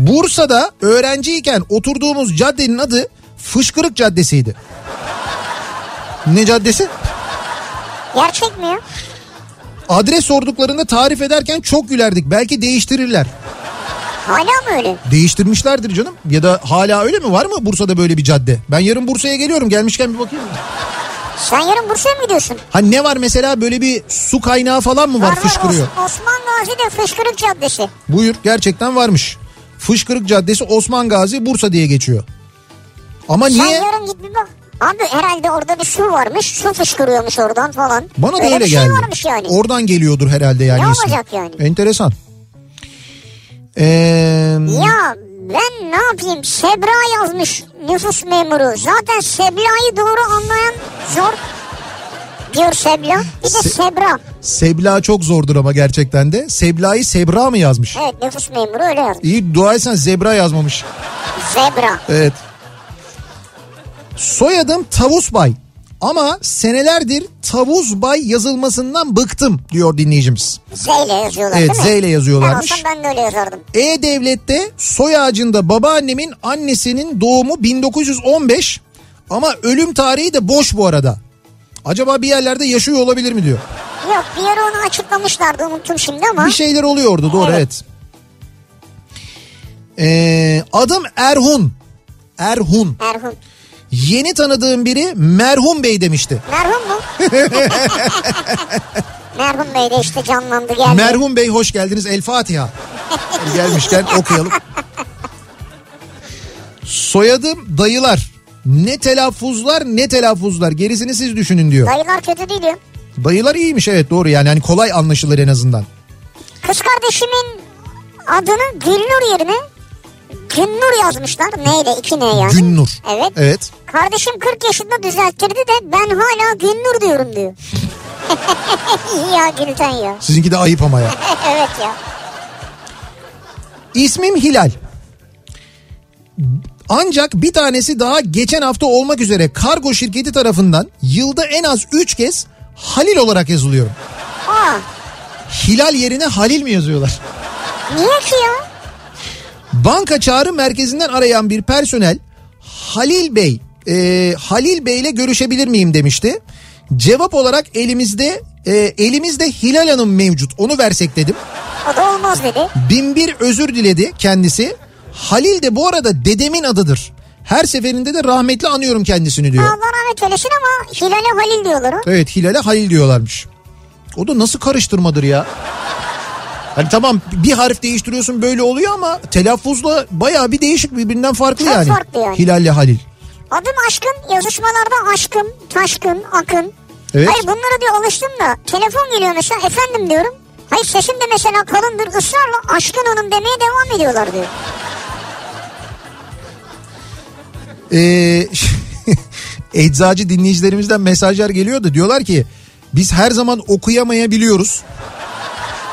Bursa'da öğrenciyken oturduğumuz caddenin adı Fışkırık Caddesi'ydi. Ne caddesi? Gerçek mi ya? Adres sorduklarında tarif ederken çok gülerdik. Belki değiştirirler. Hala mı öyle? Değiştirmişlerdir canım. Ya da hala öyle mi? Var mı Bursa'da böyle bir cadde? Ben yarın Bursa'ya geliyorum. Gelmişken bir bakayım. Sen yarın Bursa'ya mı gidiyorsun? Hani ne var mesela böyle bir su kaynağı falan mı var, fışkırıyor? Os- Osman Gazi'de Fışkırık Caddesi. Buyur gerçekten varmış. Fışkırık Caddesi Osman Gazi Bursa diye geçiyor. Ama Sen niye? yarın git bir bak. Abi herhalde orada bir su varmış. Su fışkırıyormuş oradan falan. Bana da öyle, öyle, bir geldi. şey varmış yani. Oradan geliyordur herhalde yani. Ne ismi. olacak yani? Enteresan. Ee, Ya ben ne yapayım? Sebra yazmış nüfus memuru. Zaten Sebra'yı doğru anlayan zor. Diyor Sebra. Bir de Se- Sebra. Sebla çok zordur ama gerçekten de. Sebla'yı Sebra mı yazmış? Evet nüfus memuru öyle yazmış. İyi dua etsen Zebra yazmamış. Zebra. Evet. Soyadım Tavus Bay. Ama senelerdir Tavuz Bay yazılmasından bıktım diyor dinleyicimiz. Z ile yazıyorlar Evet değil mi? Z ile yazıyorlarmış. Ben olsam ben de öyle yazardım. E-Devlet'te soy ağacında babaannemin annesinin doğumu 1915 ama ölüm tarihi de boş bu arada. Acaba bir yerlerde yaşıyor olabilir mi diyor. Yok bir yere onu açıklamışlardı unuttum şimdi ama. Bir şey- şeyler oluyordu doğru evet. Evet. Ee, adım Erhun. Erhun. Merhum. Yeni tanıdığım biri merhum bey demişti. Merhum mu? Merhum Bey de işte canlandı geldi. Merhum bey hoş geldiniz El Fatiha. Gelmişken okuyalım. Soyadım dayılar. Ne telaffuzlar ne telaffuzlar gerisini siz düşünün diyor. Dayılar kötü değil diyor. Dayılar iyiymiş evet doğru yani hani kolay anlaşılır en azından. Kız kardeşimin adını Gülnur yerine Günnur yazmışlar. Neyle? İki ne yani? Günnur. Evet. Evet. Kardeşim 40 yaşında düzelttirdi de ben hala Günnur diyorum diyor. İyi ya Gülten ya. Sizinki de ayıp ama ya. evet ya. İsmim Hilal. Ancak bir tanesi daha geçen hafta olmak üzere kargo şirketi tarafından yılda en az 3 kez Halil olarak yazılıyorum. Aa, Hilal yerine Halil mi yazıyorlar? niye ki ya? Banka çağrı merkezinden arayan bir personel Halil Bey, e, Halil Bey ile görüşebilir miyim demişti. Cevap olarak elimizde e, elimizde Hilal Hanım mevcut onu versek dedim. O da olmaz dedi. Bin bir özür diledi kendisi. Halil de bu arada dedemin adıdır. Her seferinde de rahmetli anıyorum kendisini diyor. Allah rahmet eylesin ama Hilal'e Halil diyorlar o. Evet Hilal'e Halil diyorlarmış. O da nasıl karıştırmadır ya? Hani tamam bir harf değiştiriyorsun böyle oluyor ama telaffuzla bayağı bir değişik birbirinden farklı Çok yani. farklı yani. Hilal'le Halil. Adım aşkın yazışmalarda aşkım, taşkın, akın. Evet. Hayır bunlara diyor alıştım da telefon geliyor mesela efendim diyorum. Hayır sesim de mesela kalındır ısrarla aşkın hanım demeye devam ediyorlar diyor. Ee, eczacı dinleyicilerimizden mesajlar geliyor da diyorlar ki biz her zaman okuyamayabiliyoruz.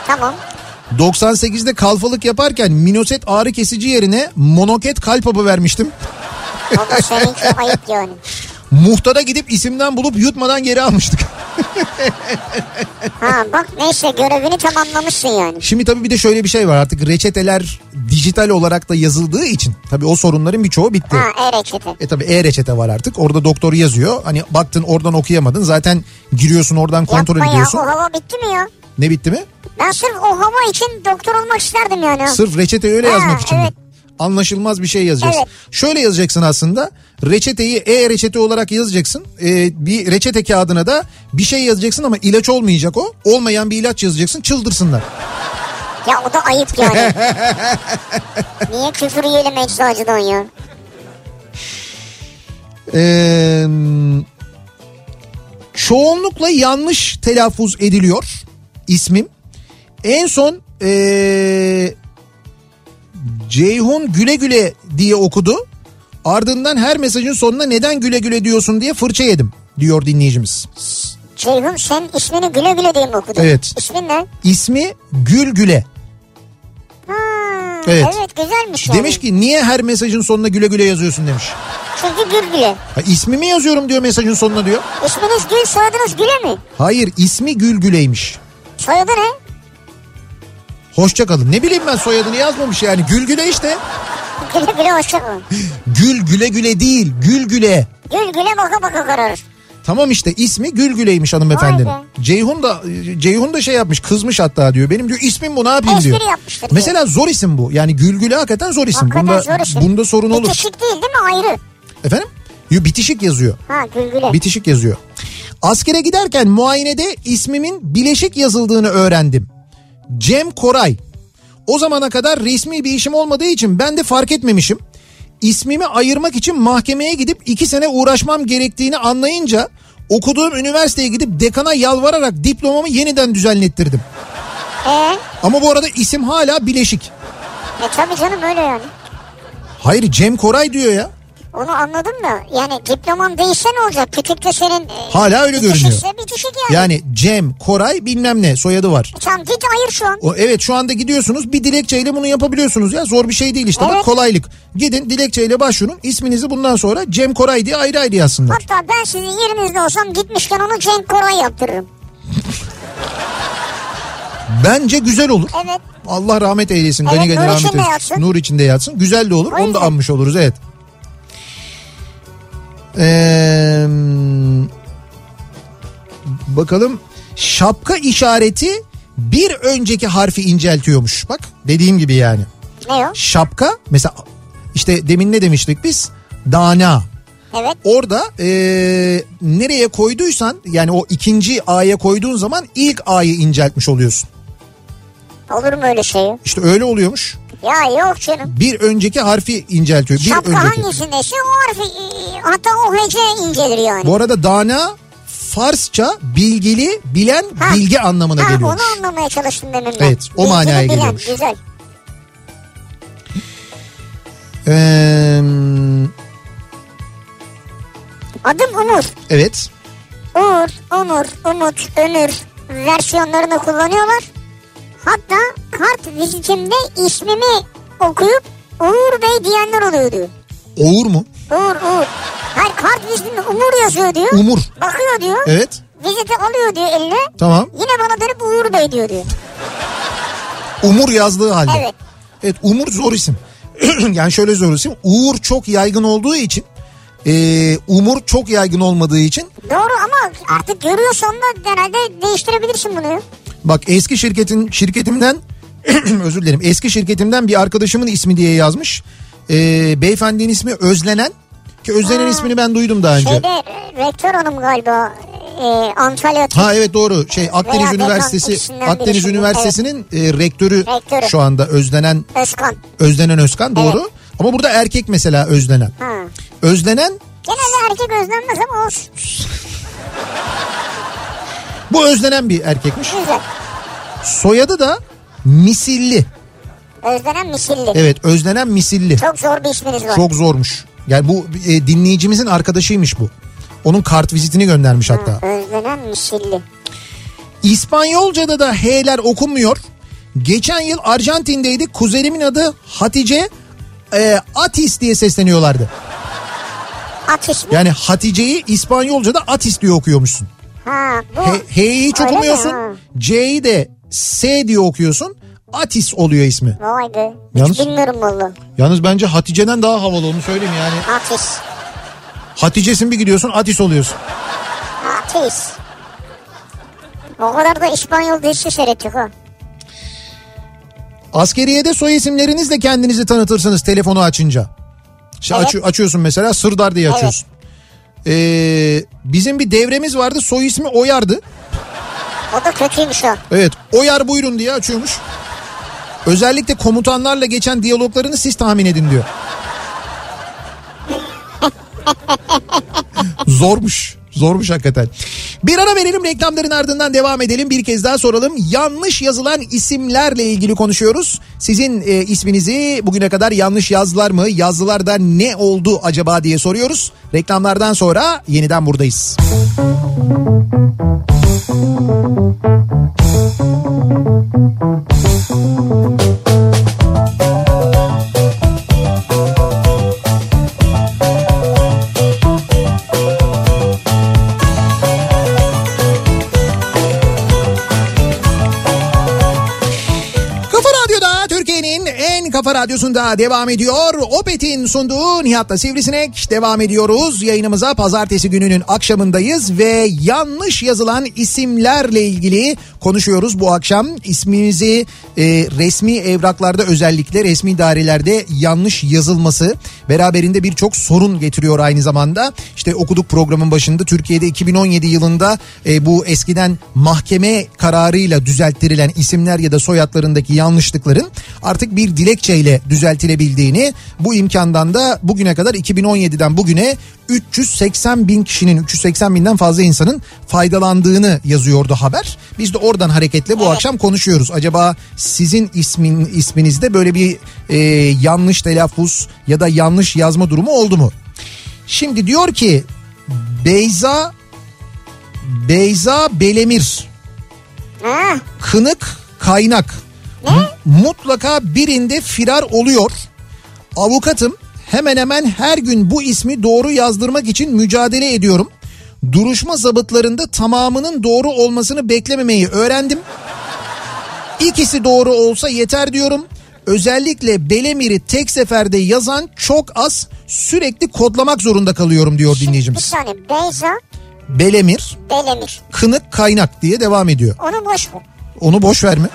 Tamam. 98'de kalfalık yaparken minoset ağrı kesici yerine monoket kalpabı vermiştim. O da seninki ayıp yani. Muhtara gidip isimden bulup yutmadan geri almıştık. Ha bak neyse görevini tamamlamışsın yani. Şimdi tabii bir de şöyle bir şey var artık reçeteler dijital olarak da yazıldığı için tabii o sorunların birçoğu bitti. Ha e-reçete. E tabii e-reçete var artık orada doktor yazıyor hani baktın oradan okuyamadın zaten giriyorsun oradan kontrol Yapma ediyorsun. ya o hava bitti mi ya? Ne bitti mi? Ben sırf o hava için doktor olmak isterdim yani. Sırf reçeteyi öyle Ha, yazmak için. mi? evet. Anlaşılmaz bir şey yazacaksın. Evet. Şöyle yazacaksın aslında. Reçeteyi e-reçete olarak yazacaksın. Ee, bir reçete kağıdına da bir şey yazacaksın ama ilaç olmayacak o. Olmayan bir ilaç yazacaksın çıldırsınlar. Ya o da ayıp yani. Niye küfür yiyelim eczacıdan ya? Ee, çoğunlukla yanlış telaffuz ediliyor ismim. En son ee, Ceyhun güle güle diye okudu. Ardından her mesajın sonuna neden güle güle diyorsun diye fırça yedim diyor dinleyicimiz. Ceyhun sen ismini güle güle diye mi okudun? Evet. İsmin ne? İsmi Gül Güle. Ha, Evet. evet. güzelmiş yani. Demiş ki niye her mesajın sonuna güle güle yazıyorsun demiş. Çünkü gül güle. Ha, ismimi yazıyorum diyor mesajın sonuna diyor. İsminiz gül soyadınız güle mi? Hayır ismi Gül Güle'ymiş. Soyadı ne? Hoşça kalın. Ne bileyim ben soyadını yazmamış yani. Gül Güle işte. Güle güle hoşçakalın. Gül güle güle değil gül güle. Gül güle baka baka kararır. Tamam işte ismi Gül Güle'ymiş hanımefendinin. Vay Ceyhun da Ceyhun da şey yapmış kızmış hatta diyor. Benim diyor ismim bu ne yapayım Espri diyor. yapmıştır diyor. Mesela zor isim bu. Yani Gül Güle hakikaten zor isim. Hakikaten bunda, zor isim. Bunda sorun olur. Bitişik değil değil mi ayrı? Efendim? Yo, bitişik yazıyor. Ha gül güle. Bitişik yazıyor. Askere giderken muayenede ismimin bileşik yazıldığını öğrendim. Cem Koray. O zamana kadar resmi bir işim olmadığı için ben de fark etmemişim. İsmimi ayırmak için mahkemeye gidip iki sene uğraşmam gerektiğini anlayınca okuduğum üniversiteye gidip dekana yalvararak diplomamı yeniden düzenlettirdim. Ee, Ama bu arada isim hala bileşik. e tabii canım öyle yani. Hayır Cem Koray diyor ya. Onu anladım da yani diploman değişse ne olacak? Kütükte senin... e, Hala öyle görünüyor. bitişikse değişik yani. E, Yani Cem, Koray bilmem ne soyadı var. Tamam git ayır şu an. O, evet şu anda gidiyorsunuz bir dilekçeyle bunu yapabiliyorsunuz ya zor bir şey değil işte bak Evet. kolaylık. Gidin dilekçeyle başvurun isminizi bundan sonra Cem Koray diye ayrı ayrı yazsınlar. Hatta ben sizin yerinizde olsam gitmişken onu Cenk Koray yaptırırım. Bence güzel olur. Evet. Allah rahmet eylesin. Evet, gani gani nur rahmet içinde eylesin. yatsın. Nur içinde yatsın. Güzel de olur. O Onu da yüzden. anmış oluruz evet. Ee, bakalım şapka işareti bir önceki harfi inceltiyormuş. Bak dediğim gibi yani. Ne o? Şapka mesela işte demin ne demiştik biz? Dana. Evet. Orada ee, nereye koyduysan yani o ikinci A'ya koyduğun zaman ilk A'yı inceltmiş oluyorsun. Olur mu öyle şey? ya? İşte öyle oluyormuş. Ya yok canım. bir önceki harfi inceltiyor. Bir Şapka önceki. hangisindeyse o harfi e, hatta o hece incelir yani. Bu arada dana Farsça bilgili, bilen, Ha. bilgi anlamına ha, geliyormuş. onu anlamaya çalıştım demin ben. Evet, o manaya bilen, geliyormuş. Güzel. Ee, Adım Umur. evet. Uğur, Umur, Umut, Ömür versiyonlarını kullanıyorlar. Hatta kart vizitimde ismimi okuyup Uğur Bey diyenler oluyor diyor. Oğur mu? Uğur, Uğur. Hayır kart vizitimde Umur yazıyor diyor. Umur. Bakıyor diyor. Um- Evet. Viziti alıyor diyor eline. Tamam. Yine bana dönüp Uğur Bey diyor diyor. Umur yazdığı halde. Evet. Evet, Umur zor isim. yani şöyle zor isim. Uğur çok yaygın olduğu için ee, Umur çok yaygın olmadığı için Doğru ama artık görüyorsan da herhalde değiştirebilirsin bunu. Bak eski şirketin şirketimden özür dilerim eski şirketimden bir arkadaşımın ismi diye yazmış. Ee, beyefendinin ismi Özlenen ki Özlenen ismini ben duydum daha önce. Şeyde e, rektör hanım galiba e, Antalya Ha evet doğru şey Akdeniz Veya Bekan Üniversitesi ikisinden Akdeniz birisi. Üniversitesi'nin e, rektörü, Rektörü. şu anda Özlenen Özkan. Özlenen Özkan doğru. Ama burada erkek mesela Özlenen. Ha. Özlenen Genelde erkek özlenmez ama olsun. bu Özlenen bir erkekmiş. Güzel. Soyadı da Misilli. Özlenen misilli. Evet Özlenen Misilli. Çok zor bir isminiz var. E, Çok zormuş. Yani bu e, dinleyicimizin arkadaşıymış bu. Onun kart vizitini göndermiş hatta. Hmm. Özlenen misilli. İspanyolca'da da H'ler okunmuyor. Geçen yıl Arjantin'deydik. Kuzenimin adı Hatice e, Atis diye sesleniyorlardı. At ismi. Yani Hatice'yi İspanyolca'da Atis diye okuyormuşsun. Ha bu. H- H'yi hiç Öyle mi? okumuyorsun. Ha. C'yi de S diye okuyorsun. Atis oluyor ismi. Vay be. Yalnız- Hiç bilmiyorum valla. Yalnız bence Hatice'den daha havalı onu söyleyeyim yani. Atis. Hatice'sin bir gidiyorsun Atis oluyorsun. Atis. O kadar da İspanyol dizisi seyrettik ha. Askeriyede soy isimlerinizle kendinizi tanıtırsınız telefonu açınca. İşte Evet. açı- açıyorsun mesela Sırdar diye açıyorsun. Ee, bizim bir devremiz vardı soy ismi Oyar'dı. O da kötüymüş o. Evet Oyar buyurun diye açıyormuş. Özellikle komutanlarla geçen diyaloglarını siz tahmin edin diyor. Zormuş. Zormuş hakikaten. Bir ara verelim reklamların ardından devam edelim. Bir kez daha soralım. Yanlış yazılan isimlerle ilgili konuşuyoruz. Sizin e, isminizi bugüne kadar yanlış yazdılar mı? Yazdılar da ne oldu acaba diye soruyoruz. Reklamlardan sonra yeniden buradayız. Kafa Radyo'da Türkiye'nin en kafa radyosunda devam ediyor. Opet'in sunduğu Nihat'la Sivrisinek devam ediyoruz. Yayınımıza pazartesi gününün akşamındayız ve yanlış yazılan isimlerle ilgili konuşuyoruz bu akşam. İsminizi e, resmi evraklarda özellikle resmi idarelerde yanlış yazılması beraberinde birçok sorun getiriyor aynı zamanda. İşte okuduk programın başında Türkiye'de 2017 yılında e, bu eskiden mahkeme kararıyla düzelttirilen isimler ya da soyadlarındaki yanlışlıkların artık bir dilekçeyle düzeltilebildiğini bu imkandan da bugüne kadar 2017'den bugüne 380 bin kişinin 380 binden fazla insanın faydalandığını yazıyordu haber. Biz de oradan hareketle bu akşam konuşuyoruz. Acaba sizin ismin isminizde böyle bir e, yanlış telaffuz ya da yanlış yazma durumu oldu mu? Şimdi diyor ki Beyza Beyza Belemir. Ha, Kınık kaynak. Mutlaka birinde firar oluyor. Avukatım hemen hemen her gün bu ismi doğru yazdırmak için mücadele ediyorum. Duruşma zabıtlarında tamamının doğru olmasını beklememeyi öğrendim. İkisi doğru olsa yeter diyorum. Özellikle Belemir'i tek seferde yazan çok az sürekli kodlamak zorunda kalıyorum diyor bir dinleyicimiz. saniye Beyza Belemir, Belemir. kınık kaynak diye devam ediyor. Onu boş ver. Onu boş verme.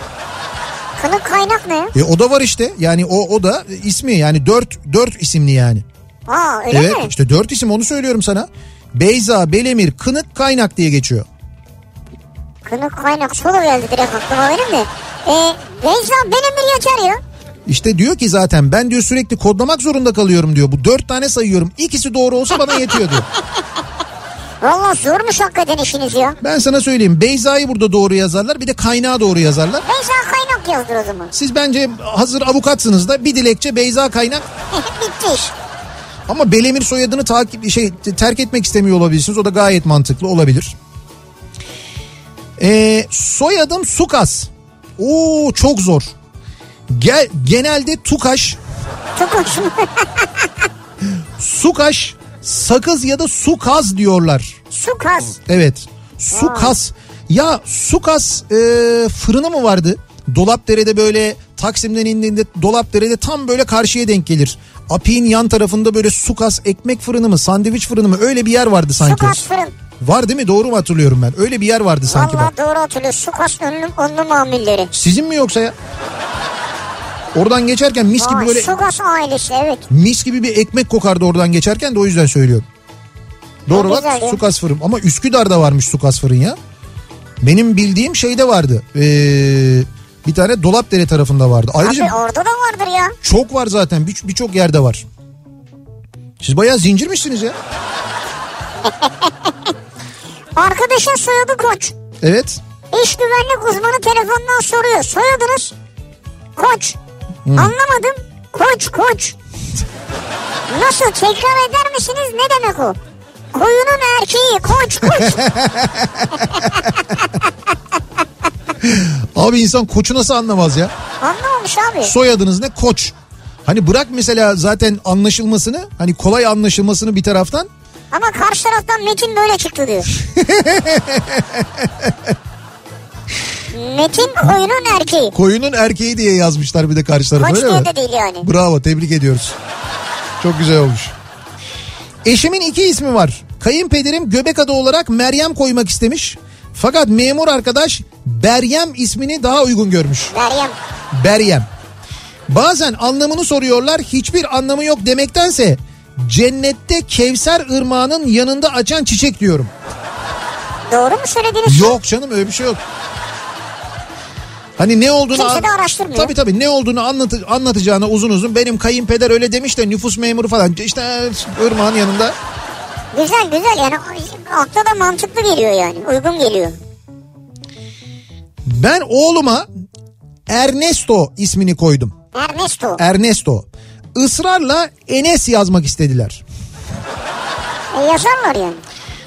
Kılık kaynak ne? E o da var işte. Yani o o da ismi yani dört dört isimli yani. Aa öyle evet mi? işte dört isim onu söylüyorum sana. Beyza, Belemir, Kınık, Kaynak diye geçiyor. Kılık kaynak solu geldi direkt aklıma benim de. Ee, Beyza Belemir yeter ya. İşte diyor ki zaten ben diyor sürekli kodlamak zorunda kalıyorum diyor. Bu dört tane sayıyorum. İkisi doğru olsa bana yetiyor diyor. Valla zormuş hakikaten işiniz ya. Ben sana söyleyeyim Beyza'yı burada doğru yazarlar bir de kaynağı doğru yazarlar. Beyza kaynak yazdır o zaman. Siz bence hazır avukatsınız da bir dilekçe Beyza Kaynak Bitti iş. ama Belemir soyadını takip şey terk etmek istemiyor olabilirsiniz. O da gayet mantıklı olabilir. Ee, soyadım Sukas. Oo çok zor. Gel, genelde Tukaş, Çok hoşuma. Sukaş, Sakız ya da Sukaz diyorlar. Su kas. Evet. Sukas. Ya Sukas e, fırını mı vardı? Dolapdere'de böyle Taksim'den indiğinde Dolapdere'de tam böyle karşıya denk gelir. Api'nin yan tarafında böyle Sukas ekmek fırını mı sandviç fırını mı öyle bir yer vardı Su sanki. kas fırın. Var değil mi doğru mu hatırlıyorum ben? Öyle bir yer vardı sanki Valla bak. doğru hatırlıyor. Su kas önlü, önlü mamulleri. Sizin mi yoksa ya? Oradan geçerken mis gibi Vay, böyle Su kas ailesi evet. mis gibi bir ekmek kokardı oradan geçerken de o yüzden söylüyorum. Doğru Ne bak güzel ya. Sukas fırın ama Üsküdar'da varmış Sukas fırın ya. Benim bildiğim şeyde vardı. Ee, bir tane Dolapdere tarafında vardı. Ayrıca Abi orada da vardır ya. çok var zaten bir- birçok yerde var. Siz bayağı zincirmişsiniz ya. Arkadaşın soyadı koç. Evet. İş güvenlik uzmanı telefondan soruyor. Soyadınız? Koç. Anlamadım. Koç koç. Nasıl tekrar eder misiniz? Ne demek o? Koyunun erkeği koç koç. Abi insan koçu nasıl anlamaz ya? Anlamamış abi. Soyadınız ne? Koç. Hani bırak mesela zaten anlaşılmasını hani kolay anlaşılmasını bir taraftan Ama karşı taraftan Metin böyle çıktı diyor. Metin koyunun erkeği. koyunun erkeği diye yazmışlar bir de karşı tarafa Koç öyle diye mi? de değil yani. Bravo tebrik ediyoruz. Çok güzel olmuş. Eşimin iki ismi var. Kayınpederim göbek adı olarak Meryem koymak istemiş. Fakat memur arkadaş Beryem ismini daha uygun görmüş. Meryem. Beryem. Bazen anlamını soruyorlar hiçbir anlamı yok demektense cennette Kevser ırmağının yanında açan çiçek diyorum. Doğru mu söylediğiniz? Yok canım öyle bir şey yok. Hani ne olduğunu Kimse an- de araştırmıyor. Tabii tabii ne olduğunu anlatı, anlatacağına uzun uzun benim kayınpeder öyle demiş de nüfus memuru falan işte ırmağın yanında. Güzel güzel yani akla da mantıklı geliyor yani. Uygun geliyor. Ben oğluma Ernesto ismini koydum. Ernesto. Ernesto. Israrla Enes yazmak istediler. E, yazarlar yani.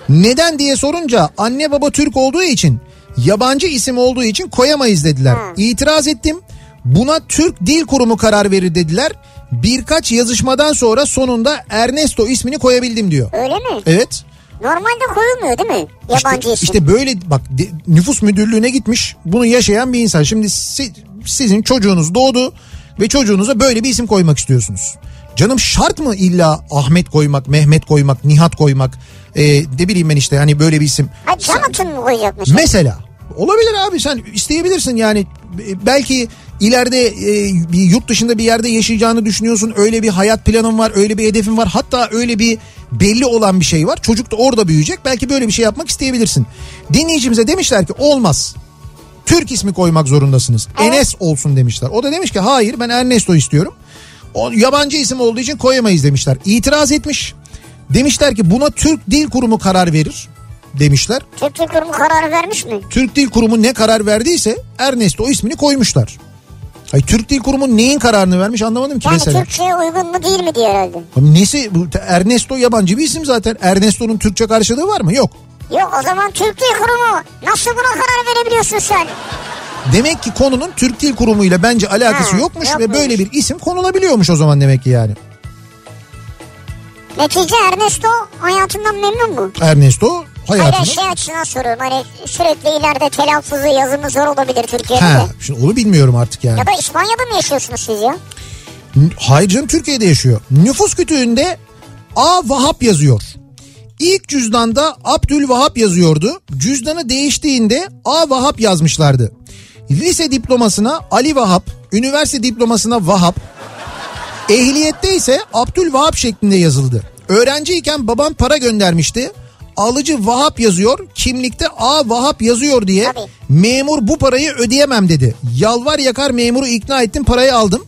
Neden diye sorunca anne baba Türk olduğu için yabancı isim olduğu için koyamayız dediler. İtiraz ettim. Buna Türk Dil Kurumu karar verir dediler. Birkaç yazışmadan sonra sonunda Ernesto ismini koyabildim diyor. Öyle mi? Evet. Normalde koyulmuyor değil mi? E, İşte, Yabancı isim. işte böyle bak de- nüfus müdürlüğüne gitmiş bunu yaşayan bir insan. Şimdi si- sizin çocuğunuz doğdu ve çocuğunuza böyle bir isim koymak istiyorsunuz. Canım şart mı illa Ahmet koymak, Mehmet koymak, Nihat koymak? E, ne bileyim ben işte hani böyle bir isim. Ha, Jonathan mı koyacakmış? Mesela olabilir abi sen isteyebilirsin yani E, belki ileride e, bir yurt dışında bir yerde yaşayacağını düşünüyorsun. Öyle bir hayat planın var, öyle bir hedefin var. Hatta öyle bir belli olan bir şey var. Çocuk da orada büyüyecek. Belki böyle bir şey yapmak isteyebilirsin. Dinleyicimize demişler ki olmaz. Türk ismi koymak zorundasınız. Enes olsun demişler. O da demiş ki hayır ben Ernesto istiyorum. O yabancı isim olduğu için koyamayız demişler. İtiraz etmiş. Demişler ki buna Türk Dil Kurumu karar verir demişler. Türk Dil Kurumu kararı vermiş mi? Türk Dil Kurumu ne karar verdiyse Ernesto ismini koymuşlar. Ay Türk Dil Kurumu neyin kararını vermiş anlamadım ki Yani mesela. Türkçe'ye uygun mu değil mi diye herhalde. Nesi bu Ernesto yabancı bir isim zaten. Ernesto'nun Türkçe karşılığı var mı? Yok. Yok o zaman Türk Dil Kurumu nasıl buna karar verebiliyorsun sen? Demek ki konunun Türk Dil Kurumu ile bence alakası Ha, yokmuş ve yokmuş. böyle bir isim konulabiliyormuş o zaman demek ki yani. Netice Ernesto hayatından memnun mu? Ernesto Hayır hayatını... şey açısından soruyorum hani sürekli ileride telaffuzu yazımı zor olabilir Türkiye'de. Ha, de. şimdi onu bilmiyorum artık yani. şey- Ya da İspanya'da mı yaşıyorsunuz siz ya? N- Hayır canım Türkiye'de yaşıyor. Nüfus kütüğünde A. Vahap yazıyor. İlk cüzdanda Abdülvahap yazıyordu. Cüzdanı değiştiğinde A. Vahap yazmışlardı. Lise diplomasına Ali Vahap, üniversite diplomasına Vahap, ehliyette ise Abdülvahap şeklinde yazıldı. Öğrenciyken babam para göndermişti. Alıcı Vahap yazıyor, kimlikte A Vahap yazıyor diye Tabii. memur bu parayı ödeyemem dedi. Yalvar yakar memuru ikna ettim parayı aldım.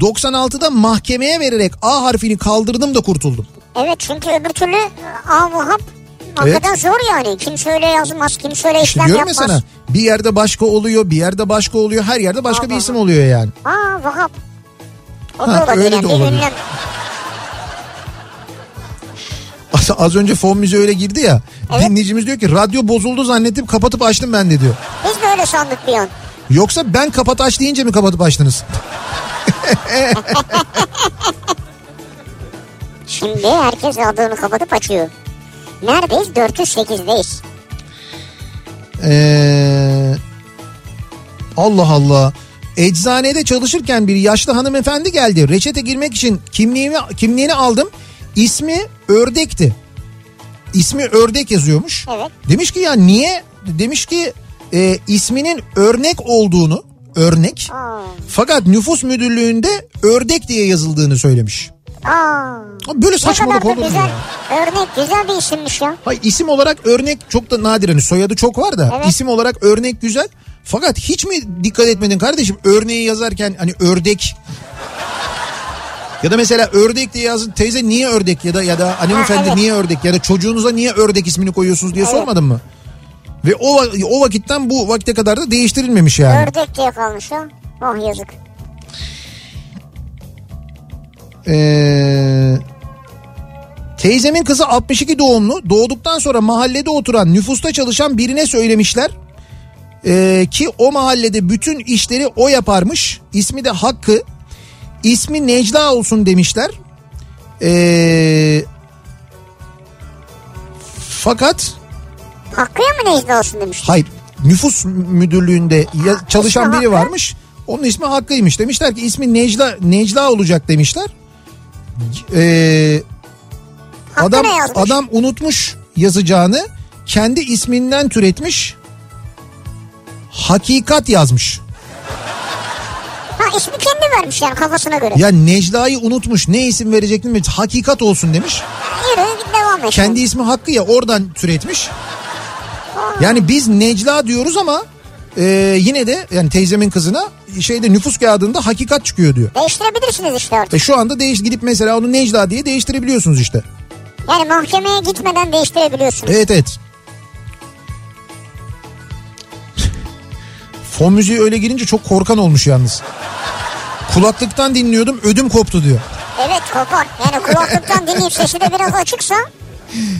96'da mahkemeye vererek A harfini kaldırdım da kurtuldum. Evet çünkü öbür türlü avuhap hakikaten zor yani. Kimse öyle yazmaz, kimse öyle İşte işlem diyorum ya yapmaz. sana bir yerde başka oluyor, bir yerde başka oluyor, her yerde başka bir Aha. isim oluyor yani. Aa vahap. O Ha, da olabilir. öyle de yani, bir olabilir. ünlem. Az- Az önce fon müziği öyle girdi ya. Evet. Dinleyicimiz diyor ki radyo bozuldu zannettim kapatıp açtım ben de diyor. Biz de öyle sandık bir an. Yoksa ben kapat aç deyince mi kapatıp açtınız? Şimdi herkes adını kapatıp açıyor. Neredeyiz? 408'deyiz. Ee, Allah Allah. Eczanede çalışırken bir yaşlı hanımefendi geldi. Reçete girmek için kimliğimi kimliğini aldım. İsmi Ördek'ti. İsmi Ördek yazıyormuş. Evet. Demiş ki ya niye? Demiş ki e, isminin örnek olduğunu, örnek. Aa. Fakat nüfus müdürlüğünde ördek diye yazıldığını söylemiş. Aa. Ama Böyle Ne kadar saçmalık da olur mu güzel. ya? Örnek güzel bir isimmiş ya. Hayır isim olarak örnek çok da nadir hani soyadı çok var da Evet. isim olarak örnek güzel. Fakat hiç mi dikkat etmedin kardeşim örneği yazarken hani ördek ya da mesela ördek diye yazın teyze niye ördek ya da ya da hanımefendi Ha, evet. niye ördek ya da çocuğunuza niye ördek ismini koyuyorsunuz diye sormadın mı? Ve o va- o vakitten bu vakte kadar da değiştirilmemiş yani. Ördek diye kalmış ya. Oh yazık. Ee, teyzemin kızı 62 doğumlu. Doğduktan sonra mahallede oturan nüfusta çalışan birine söylemişler. Ee, ki o mahallede bütün işleri o yaparmış. İsmi de Hakkı. İsmi Necla olsun demişler. Ee, fakat Hakkı'ya mı Necla olsun demiş. hayır nüfus müdürlüğünde ya- çalışan İsmi biri Hakkı. varmış. Onun ismi Hakkı'ymış. Demişler ki ismi Necla Necla olacak demişler. Ee, Hakkı adam ne yazmış? adam unutmuş yazacağını. Kendi isminden türetmiş. Hakikat yazmış. Ha ismi kendi vermiş yani kafasına göre. Ya Necla'yı unutmuş. Ne isim verecektim? Hakikat olsun demiş. Yürü git devam et. Kendi ismi Hakkı ya oradan türetmiş. Yani biz Necla diyoruz ama e, yine de yani teyzemin kızına şeyde nüfus kağıdında hakikat çıkıyor diyor. Değiştirebilirsiniz işte artık. E şu anda değiş gidip mesela onu Necla diye değiştirebiliyorsunuz işte. E- Yani mahkemeye gitmeden değiştirebiliyorsunuz. Evet evet. Fon müziği öyle girince çok korkan olmuş yalnız. Kulaklıktan dinliyordum ödüm koptu diyor. Evet kopar. Yani kulaklıktan dinleyip sesi de biraz açıksa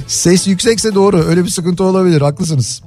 Ses yüksekse doğru öyle bir sıkıntı olabilir haklısınız.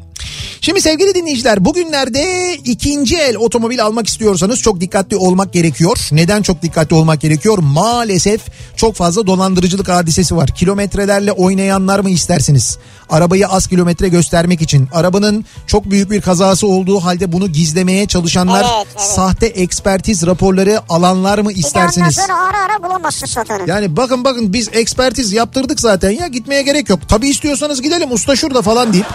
Şimdi sevgili dinleyiciler bugünlerde ikinci el otomobil almak istiyorsanız çok dikkatli olmak gerekiyor. Neden çok dikkatli olmak gerekiyor? Maalesef çok fazla dolandırıcılık hadisesi var. Kilometrelerle oynayanlar mı istersiniz? Arabayı az kilometre göstermek için arabanın çok büyük bir kazası olduğu halde bunu gizlemeye çalışanlar Evet, evet. sahte ekspertiz raporları alanlar mı bir de ondan istersiniz? sonra ara ara bulamazsın satanı. Yani bakın bakın biz ekspertiz yaptırdık zaten ya gitmeye gerek yok. Tabii istiyorsanız gidelim usta şurada falan deyip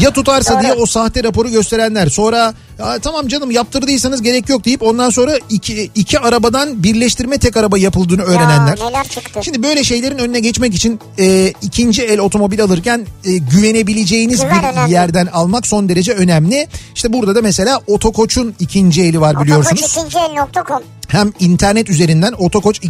ya tutarsa Doğru. diye o sahte raporu gösterenler sonra "Ya tamam canım yaptırdıysanız gerek yok deyip ondan sonra iki, iki arabadan birleştirme tek araba yapıldığını öğrenenler. Ya neler çıktı. Şimdi böyle şeylerin önüne geçmek için e, ikinci el otomobil alırken e, güvenebileceğiniz Güven bir önemli. yerden almak son derece önemli. İşte burada da mesela Otokoç'un ikinci eli var biliyorsunuz Otokoç ikinci el nokta com. hem internet üzerinden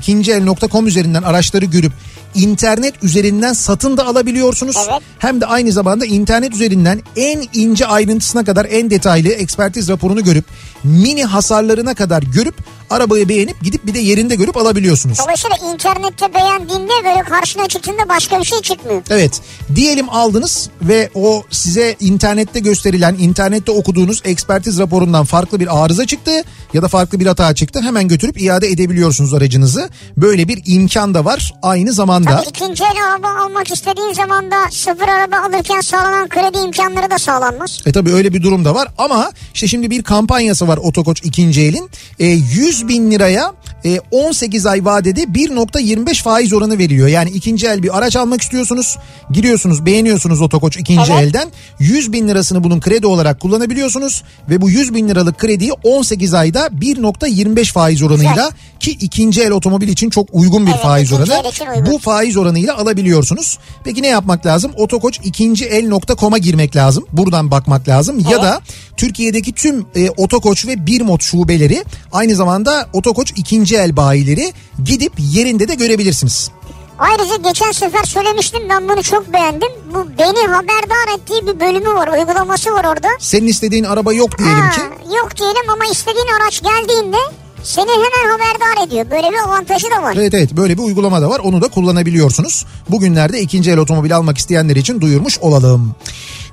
otokoç2el.com üzerinden araçları görüp internet üzerinden satın da alabiliyorsunuz. Evet. Hem de aynı zamanda internet üzerinden en ince ayrıntısına kadar en detaylı ekspertiz analiz raporunu görüp mini hasarlarına kadar görüp arabayı beğenip gidip bir de yerinde görüp alabiliyorsunuz. Dolayısıyla internette beğendiğinde böyle karşına çıktığında başka bir şey çıkmıyor. Evet diyelim aldınız ve o size internette gösterilen internette okuduğunuz ekspertiz raporundan farklı bir arıza çıktı ya da farklı bir hata çıktı hemen götürüp iade edebiliyorsunuz aracınızı. Böyle bir imkan da var aynı zamanda. Tabii Hani ikinci el araba almak istediğin zaman da sıfır araba alırken sağlanan kredi imkanları da sağlanmaz. E tabii öyle bir durum da var ama işte şimdi bir kampanyası var Otokoç ikinci elin. E, 100 bin liraya e, 18 ay vadede 1.25 faiz oranı veriyor. Yani ikinci el bir araç almak istiyorsunuz. Giriyorsunuz beğeniyorsunuz Otokoç ikinci Evet. elden. 100 bin lirasını bunun kredi olarak kullanabiliyorsunuz. Ve bu 100 bin liralık krediyi 18 ayda 1.25 faiz oranıyla ki ikinci el otomobil için çok uygun bir Evet, faiz ikinci oranı. el için uygun. Bu faiz oranıyla alabiliyorsunuz. Peki ne yapmak lazım? Otokoç ikinci el.com'a girmek lazım. Buradan bakmak lazım. Ya da Türkiye'deki tüm e, Otokoç ve Birmot şubeleri aynı zamanda Otokoç ikinci el bayileri gidip yerinde de görebilirsiniz. Ayrıca geçen sefer söylemiştim ben bunu çok beğendim. Bu beni haberdar ettiği bir bölümü var uygulaması var orada. Senin istediğin araba yok diyelim Ha, ki. Yok diyelim ama istediğin araç geldiğinde seni hemen haberdar ediyor. Böyle bir avantajı da var. Evet evet böyle bir uygulama da var onu da kullanabiliyorsunuz. Bugünlerde ikinci el otomobil almak isteyenler için duyurmuş olalım.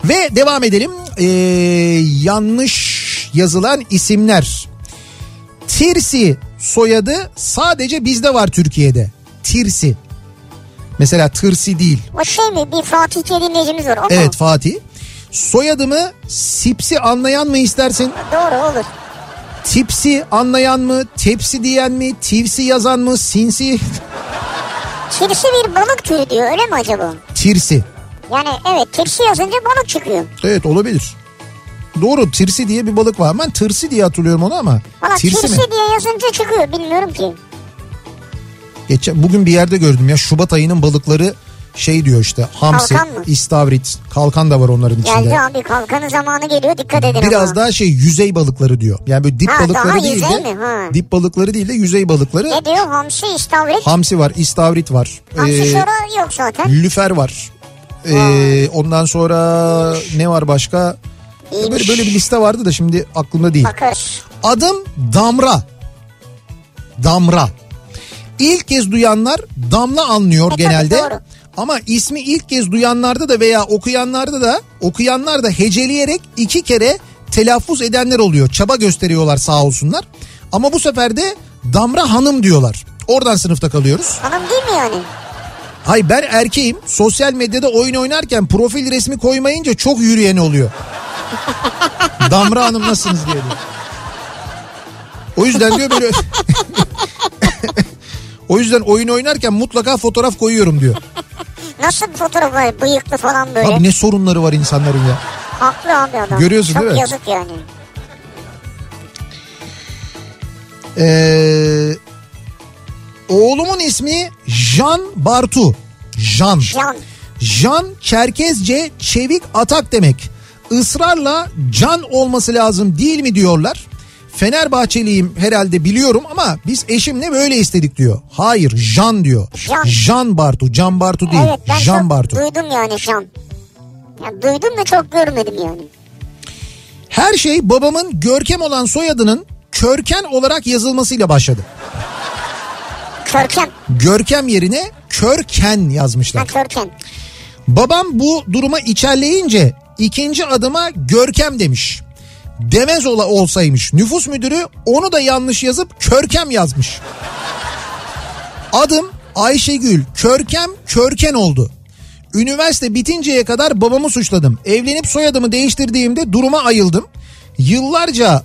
Ve devam edelim Ee, yanlış yazılan isimler. Tirsi soyadı sadece bizde var Türkiye'de. Tirsi. Mesela Tırsi değil. O şey mi bir Fatih diye dinleyicimiz var o mu? Evet Fatih. Soyadımı Sipsi anlayan mı istersin? Doğru olur. Tipsi anlayan mı? Tepsi diyen mi? Tivsi yazan mı? Sinsi? Kirsi bir balık türü diyor öyle mi acaba? Tirsi. Yani evet kirsi yazınca balık çıkıyor. Evet olabilir. Doğru tirsi diye bir balık var. Ben tırsi diye hatırlıyorum onu ama. Valla tirsi mi? kirsi diye yazınca çıkıyor bilmiyorum ki. Geçen, bugün bir yerde gördüm ya Şubat ayının balıkları şey diyor işte hamsi, Kalkan mı? istavrit, kalkan da var onların içinde. Geldi abi kalkanın zamanı geliyor dikkat edin Biraz ama. daha şey yüzey balıkları diyor. Yani böyle dip Ha, balıkları daha değil yüzey de mi? Ha. dip balıkları değil de yüzey balıkları. Ne diyor hamsi istavrit? Hamsi var, istavrit var. Hamsi ee, şora yok zaten. lüfer var. Ee, ondan sonra ne var başka? Böyle, İyiymiş. böyle bir liste vardı da şimdi aklımda değil. Bakıyoruz. Adım Damra. Damra. İlk kez duyanlar Damla anlıyor E, tabii, genelde. doğru. Ama ismi ilk kez duyanlarda da veya okuyanlarda da okuyanlar da heceleyerek iki kere telaffuz edenler oluyor. Çaba gösteriyorlar sağ olsunlar. Ama bu sefer de Damra Hanım diyorlar. Oradan sınıfta kalıyoruz. Hanım değil mi yani? Hay ben erkeğim. Sosyal medyada oyun oynarken profil resmi koymayınca çok yürüyen oluyor. Damra Hanım nasılsınız diye. diyor. O yüzden diyor böyle... o yüzden oyun oynarken mutlaka fotoğraf koyuyorum diyor. Nasıl bir fotoğraf var bıyıklı falan böyle. Abi ne sorunları var insanların ya. Haklı abi adam. Görüyorsun Çok değil mi? yazık yani. Ee, oğlumun ismi Jan Bartu. Jan. Can. Jan Çerkezce çevik atak demek. Israrla can olması lazım değil mi diyorlar. Fenerbahçeliyim herhalde biliyorum ama biz eşimle böyle istedik diyor. Hayır Jan diyor. Jan. Jan Bartu, Can Bartu değil. Evet ben Jan çok Bartu. duydum yani Can. Ya duydum da çok görmedim yani. Her şey babamın Görkem olan soyadının Körken olarak yazılmasıyla başladı. Körkem. Görkem yerine Körken Ha yazmışlar. körkem. Babam bu duruma içerleyince ikinci adıma Görkem demiş. Demez ola olsaymış. Nüfus müdürü onu da yanlış yazıp Körkem yazmış. Adım Ayşegül Körkem Körken oldu. Üniversite bitinceye kadar babamı suçladım. Evlenip soyadımı değiştirdiğimde duruma ayıldım. Yıllarca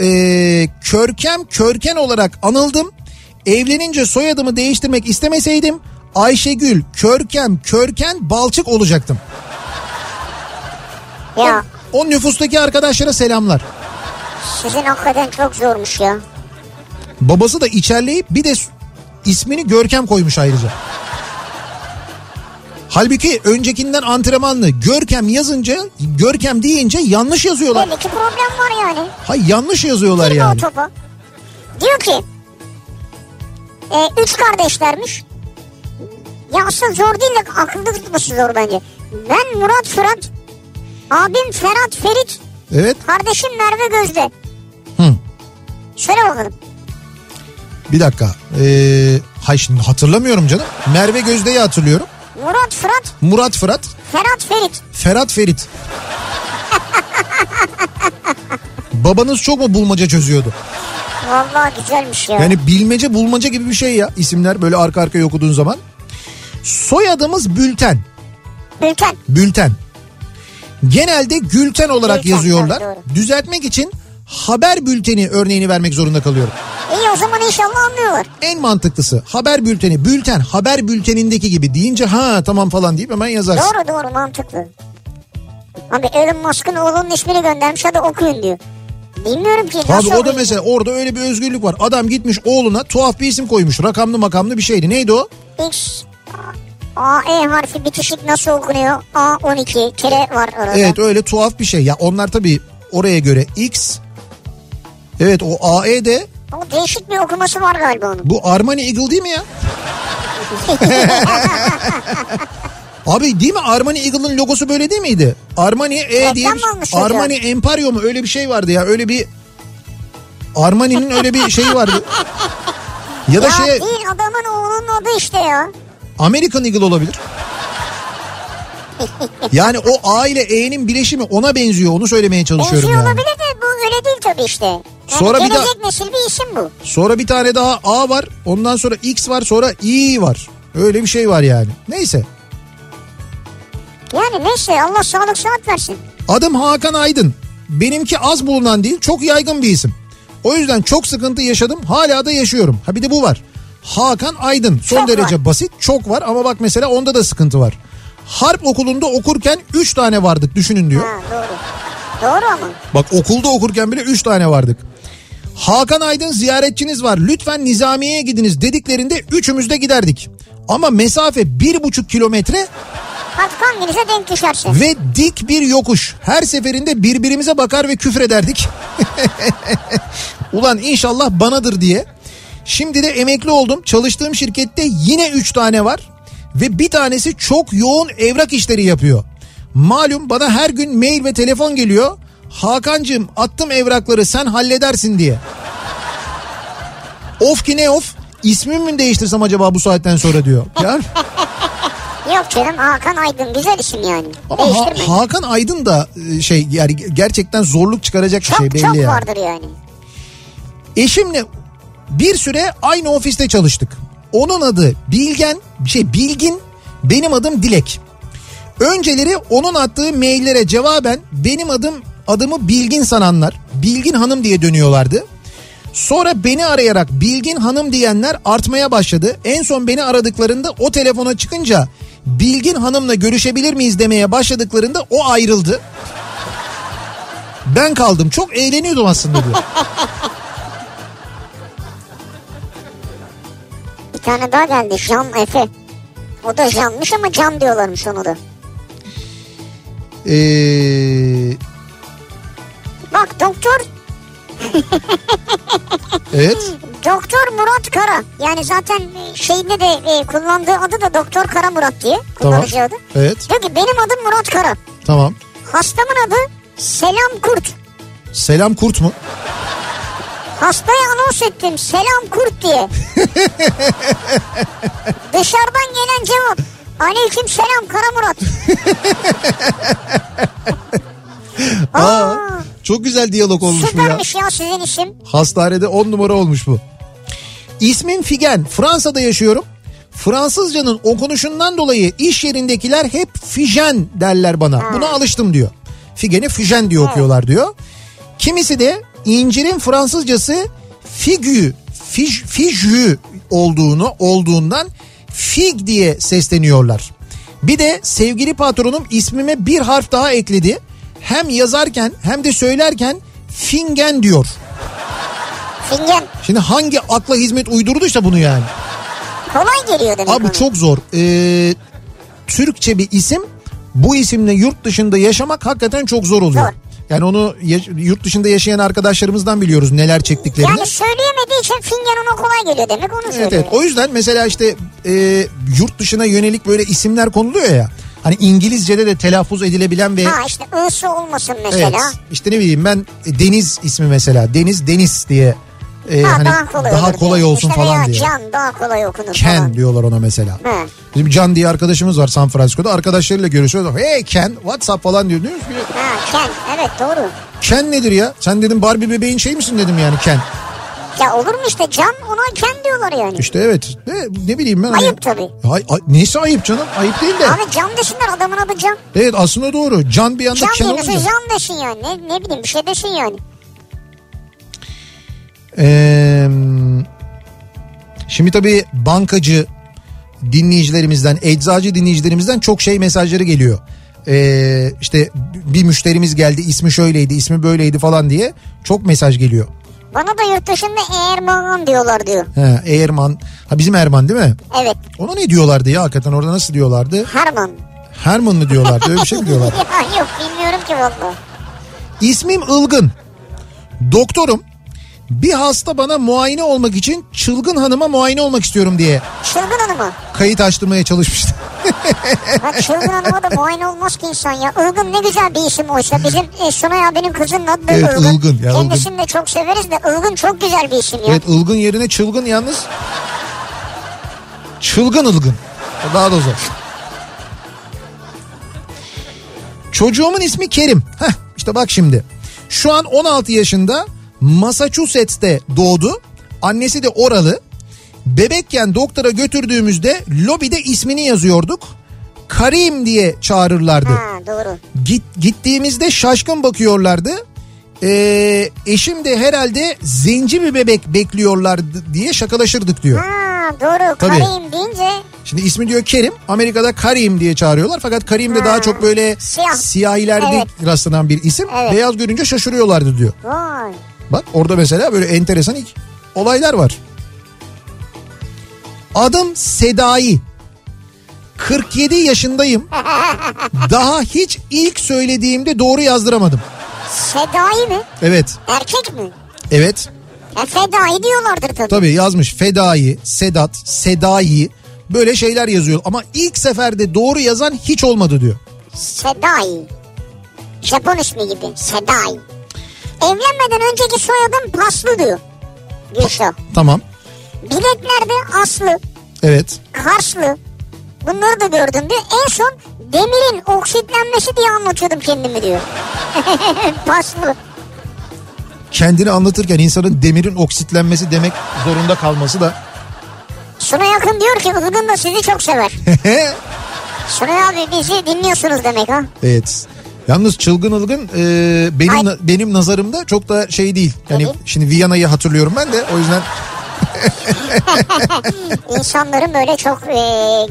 eee, Körkem Körken olarak anıldım. Evlenince soyadımı değiştirmek istemeseydim Ayşegül Körkem Körken Balçık olacaktım. Ya O nüfustaki arkadaşlara selamlar. sizin hakikaten çok zormuş ya. Babası da içerleyip bir de s- ismini Görkem koymuş ayrıca. Halbuki öncekinden antrenmanlı Görkem yazınca Görkem deyince yanlış yazıyorlar. Belli ki problem var yani. Hay yanlış yazıyorlar Girme o yani. topa. Diyor ki e, üç kardeşlermiş. Ya aslında zor değil de akılda tutması zor bence. Ben Murat Fırat, abim Ferhat Ferit, Evet Kardeşim Merve Gözde. Hı. Söyle bakalım. bir dakika. Ee, hay şimdi hatırlamıyorum canım. Merve Gözde'yi hatırlıyorum. Murat Fırat, Murat Fırat. Ferhat Ferit. Ferhat Ferit. Babanız çok mu bulmaca çözüyordu? Vallahi güzelmiş ya. Yani bilmece bulmaca gibi bir şey ya isimler böyle arka arkaya okuduğun zaman. Soyadımız Bülten. Ülken. Bülten. Genelde Gülten olarak Gülten, yazıyorlar. tabii, doğru. Düzeltmek için haber bülteni örneğini vermek zorunda kalıyorum. İyi o zaman inşallah anlıyorlar. En mantıklısı haber bülteni, bülten, haber bültenindeki gibi deyince ha tamam falan deyip hemen yazarsın. Doğru doğru mantıklı. Abi Elon Musk'ın oğlunun ismini göndermiş hadi okuyun diyor. Bilmiyorum ki nasıl Abi o da okuyayım? mesela orada öyle bir özgürlük var. Adam gitmiş oğluna tuhaf bir isim koymuş. Rakamlı makamlı bir şeydi. Neydi o? X A E harfi bitişik nasıl okunuyor? A 12 kere var arada. Evet öyle tuhaf bir şey. Ya onlar tabii oraya göre X. Evet o AE de O değişik bir okuması var galiba onun. bu Armani Eagle değil mi ya? Abi değil mi Armani Eagle'ın logosu böyle değil miydi? Armani E Reklam diye bir- mı olmuş hocam? Armani Emporio mu öyle bir şey vardı ya öyle bir Armani'nin öyle bir şeyi vardı. Ya da ya şey değil adamın oğlunun adı işte ya. American Eagle olabilir. Yani o A ile E'nin bileşimi ona benziyor onu söylemeye çalışıyorum Benziyor yani. olabilir de bu öyle değil tabii işte. Yani Sonra bir gelecek nesil bir isim bu. Sonra bir tane daha A var. Ondan sonra X var. Sonra Y var. Öyle bir şey var yani. Neyse. Yani neyse Allah sağlık sıhhat versin. Adım Hakan Aydın. Benimki az bulunan değil çok yaygın bir isim. O yüzden çok sıkıntı yaşadım. Hala da yaşıyorum. Ha bir de bu var. Hakan Aydın. Son Çok derece basit. Çok var ama bak mesela onda da sıkıntı var. Harp okulunda okurken 3 tane vardık düşünün diyor. Ha doğru. Doğru ama. Bak okulda okurken bile 3 tane vardık. Hakan Aydın ziyaretçiniz var lütfen Nizamiye'ye gidiniz dediklerinde üçümüz de giderdik. Ama mesafe bir buçuk kilometre Bak hanginize denk düşersin. ve dik bir yokuş. Her seferinde birbirimize bakar ve küfrederdik. Ulan inşallah banadır diye. Şimdi de emekli oldum. Çalıştığım şirkette yine 3 tane var. Ve bir tanesi çok yoğun evrak işleri yapıyor. Malum bana her gün mail ve telefon geliyor. Hakancığım attım evrakları sen halledersin diye. Of ki ne of. İsmimi mi değiştirsem acaba bu saatten sonra diyor. Ya. Yok canım Hakan Aydın güzel isim yani. Ama Ha- Değiştirme. Hakan Aydın da e, şey yani gerçekten zorluk çıkaracak bir çok şey belli çok yani. vardır yani. Eşimle bir süre aynı ofiste çalıştık. Onun adı Bilgen, şey Bilgin, benim adım Dilek. Önceleri onun attığı maillere cevaben benim adım adımı Bilgin sananlar, Bilgin Hanım diye dönüyorlardı. Sonra beni arayarak Bilgin Hanım diyenler artmaya başladı. En son beni aradıklarında o telefona çıkınca Bilgin Hanım'la görüşebilir miyiz demeye başladıklarında o ayrıldı. Ben kaldım çok eğleniyordum aslında diyor. Bir tane daha geldi Can Efe. O da Can'mış ama Can diyorlarmış onu da. Ee, Bak doktor evet. Hmm, Doktor Murat Kara. Yani zaten şeyinde de e, kullandığı adı da Doktor Kara Murat diye. Tamam. Kullanıcı adı. Evet. Diyor ki benim adım Murat Kara. Tamam. Hastamın adı Selam Kurt. Selam kurt mu? Hastaya anons ettim Selam Kurt diye. Dışarıdan gelen cevap. Aleyküm selam Kara Murat. Aa, çok güzel diyalog olmuş bu ya. Süpermiş ya sizin isim. Hastanede 10 numara olmuş bu. İsmim Figen. Fransa'da yaşıyorum. Fransızcanın okunuşundan dolayı iş yerindekiler hep Fijen derler bana. Buna alıştım diyor. Figen'i Fijen diye okuyorlar diyor. Kimisi de incirin Fransızcası figü, fij, fijü olduğunu olduğundan fig diye sesleniyorlar. Bir de sevgili patronum ismime bir harf daha ekledi. Hem yazarken hem de söylerken fingen diyor. Fingen. Şimdi hangi akla hizmet uydurduysa bunu yani. Kolay geliyor demek ona. Abi çok zor. Ee, Türkçe bir isim bu isimle yurt dışında yaşamak hakikaten çok zor oluyor. Zor. Yani onu ya- yurt dışında yaşayan arkadaşlarımızdan biliyoruz neler çektiklerini. Yani söyleyemediği için Fingen ona kolay geliyor demek onu söylüyor. Evet evet o yüzden mesela işte e, yurt dışına yönelik böyle isimler konuluyor ya. Hani İngilizce'de de telaffuz edilebilen ve... Ha işte ısı olmasın mesela. Evet işte ne bileyim ben e, Deniz ismi mesela Deniz Deniz diye e, Ha, hani daha kolay, olur kolay diye. olsun İşte falan veya diye. Can daha kolay okunur Ken falan. diyorlar ona mesela. Hı. Bizim Can diye arkadaşımız var San Francisco'da. Arkadaşlarıyla görüşüyoruz. Hey Ken WhatsApp falan diyor. Diyoruz ki, Ha Ken evet doğru. Ken nedir ya? Sen dedim Barbie bebeğin şey misin dedim yani Ken. Ya olur mu işte Can ona Ken diyorlar yani. İşte evet. Ne, ne bileyim ben. hani Ayıp tabii. Ay, ay- neyse ayıp canım. Ayıp değil de. Abi Can desinler adamın adı Can. Evet aslında doğru. Can bir anda Can Ken diye mesela olunca. Can desin yani. Ne, ne bileyim bir şey desin yani. Ee, şimdi tabii bankacı dinleyicilerimizden, eczacı dinleyicilerimizden çok şey mesajları geliyor. Ee, işte bir müşterimiz geldi ismi şöyleydi ismi böyleydi falan diye çok mesaj geliyor. Bana da yurt dışında Erman diyorlar diyor. He, Erman, ha bizim Erman değil mi? Evet Ona ne diyorlardı ya hakikaten orada nasıl diyorlardı? Harman. Herman mı diyorlardı öyle bir şey mi diyorlardı? ya yok bilmiyorum ki valla. İsmim Ilgın. Doktorum. Bir hasta bana muayene olmak için çılgın hanıma muayene olmak istiyorum diye Çılgın Hanım'a. kayıt açtırmaya çalışmıştı. Bak Çılgın Hanım'a da muayene olmaz ki insan ya. Ilgın ne güzel bir isim oysa. Bizim e, Sunay abinin kızının adı da Evet, Ilgın. Ilgın. Ya, Kendisini de çok severiz de Ilgın çok güzel bir isim ya. evet ılgın yerine çılgın yalnız. Çılgın ılgın. Daha da zor. Çocuğumun ismi Kerim. Heh, işte bak şimdi. Şu an 16 yaşında Massachusetts'te doğdu. Annesi de oralı. Bebekken doktora götürdüğümüzde lobide ismini yazıyorduk. Karim diye çağırırlardı. Ha doğru. Git, gittiğimizde şaşkın bakıyorlardı. Ee, eşim de herhalde zenci bir bebek bekliyorlardı diye şakalaşırdık diyor. Ha doğru. Tabii. Karim deyince Şimdi ismi diyor Kerim. Amerika'da Karim diye çağırıyorlar. Fakat Karim de daha çok böyle Siyah. siyahilerde Evet. rastlanan bir isim. Evet. Beyaz görünce şaşırıyorlardı diyor. vay. Bak orada mesela böyle enteresan ilk olaylar var. Adım Sedai. 47 yaşındayım. Daha hiç ilk söylediğimde doğru yazdıramadım. Sedai mi? Evet, Erkek mi? evet. E, fedai diyorlardır tabii. Tabii yazmış Fedai, Sedat, Sedai böyle şeyler yazıyor. Ama ilk seferde doğru yazan hiç olmadı diyor. Sedai. Japon ismi gibi. Sedai. Evlenmeden önceki soyadım Paslı diyor. Gülşah. Tamam, Bileklerde Aslı. evet. Karslı. Bunları da gördüm diyor. En son demirin oksitlenmesi diye anlatıyordum kendimi diyor. Paslı. Kendini anlatırken insanın demirin oksitlenmesi demek zorunda kalması da. Suna yakın diyor ki Ilgın da sizi çok sever. Suna abi bizi dinliyorsunuz demek ha. Evet. Yalnız çılgın ılgın e, benim Ay. benim nazarımda çok da şey değil. Yani Tabii. şimdi Viyana'yı hatırlıyorum ben de o yüzden İnsanların böyle çok e,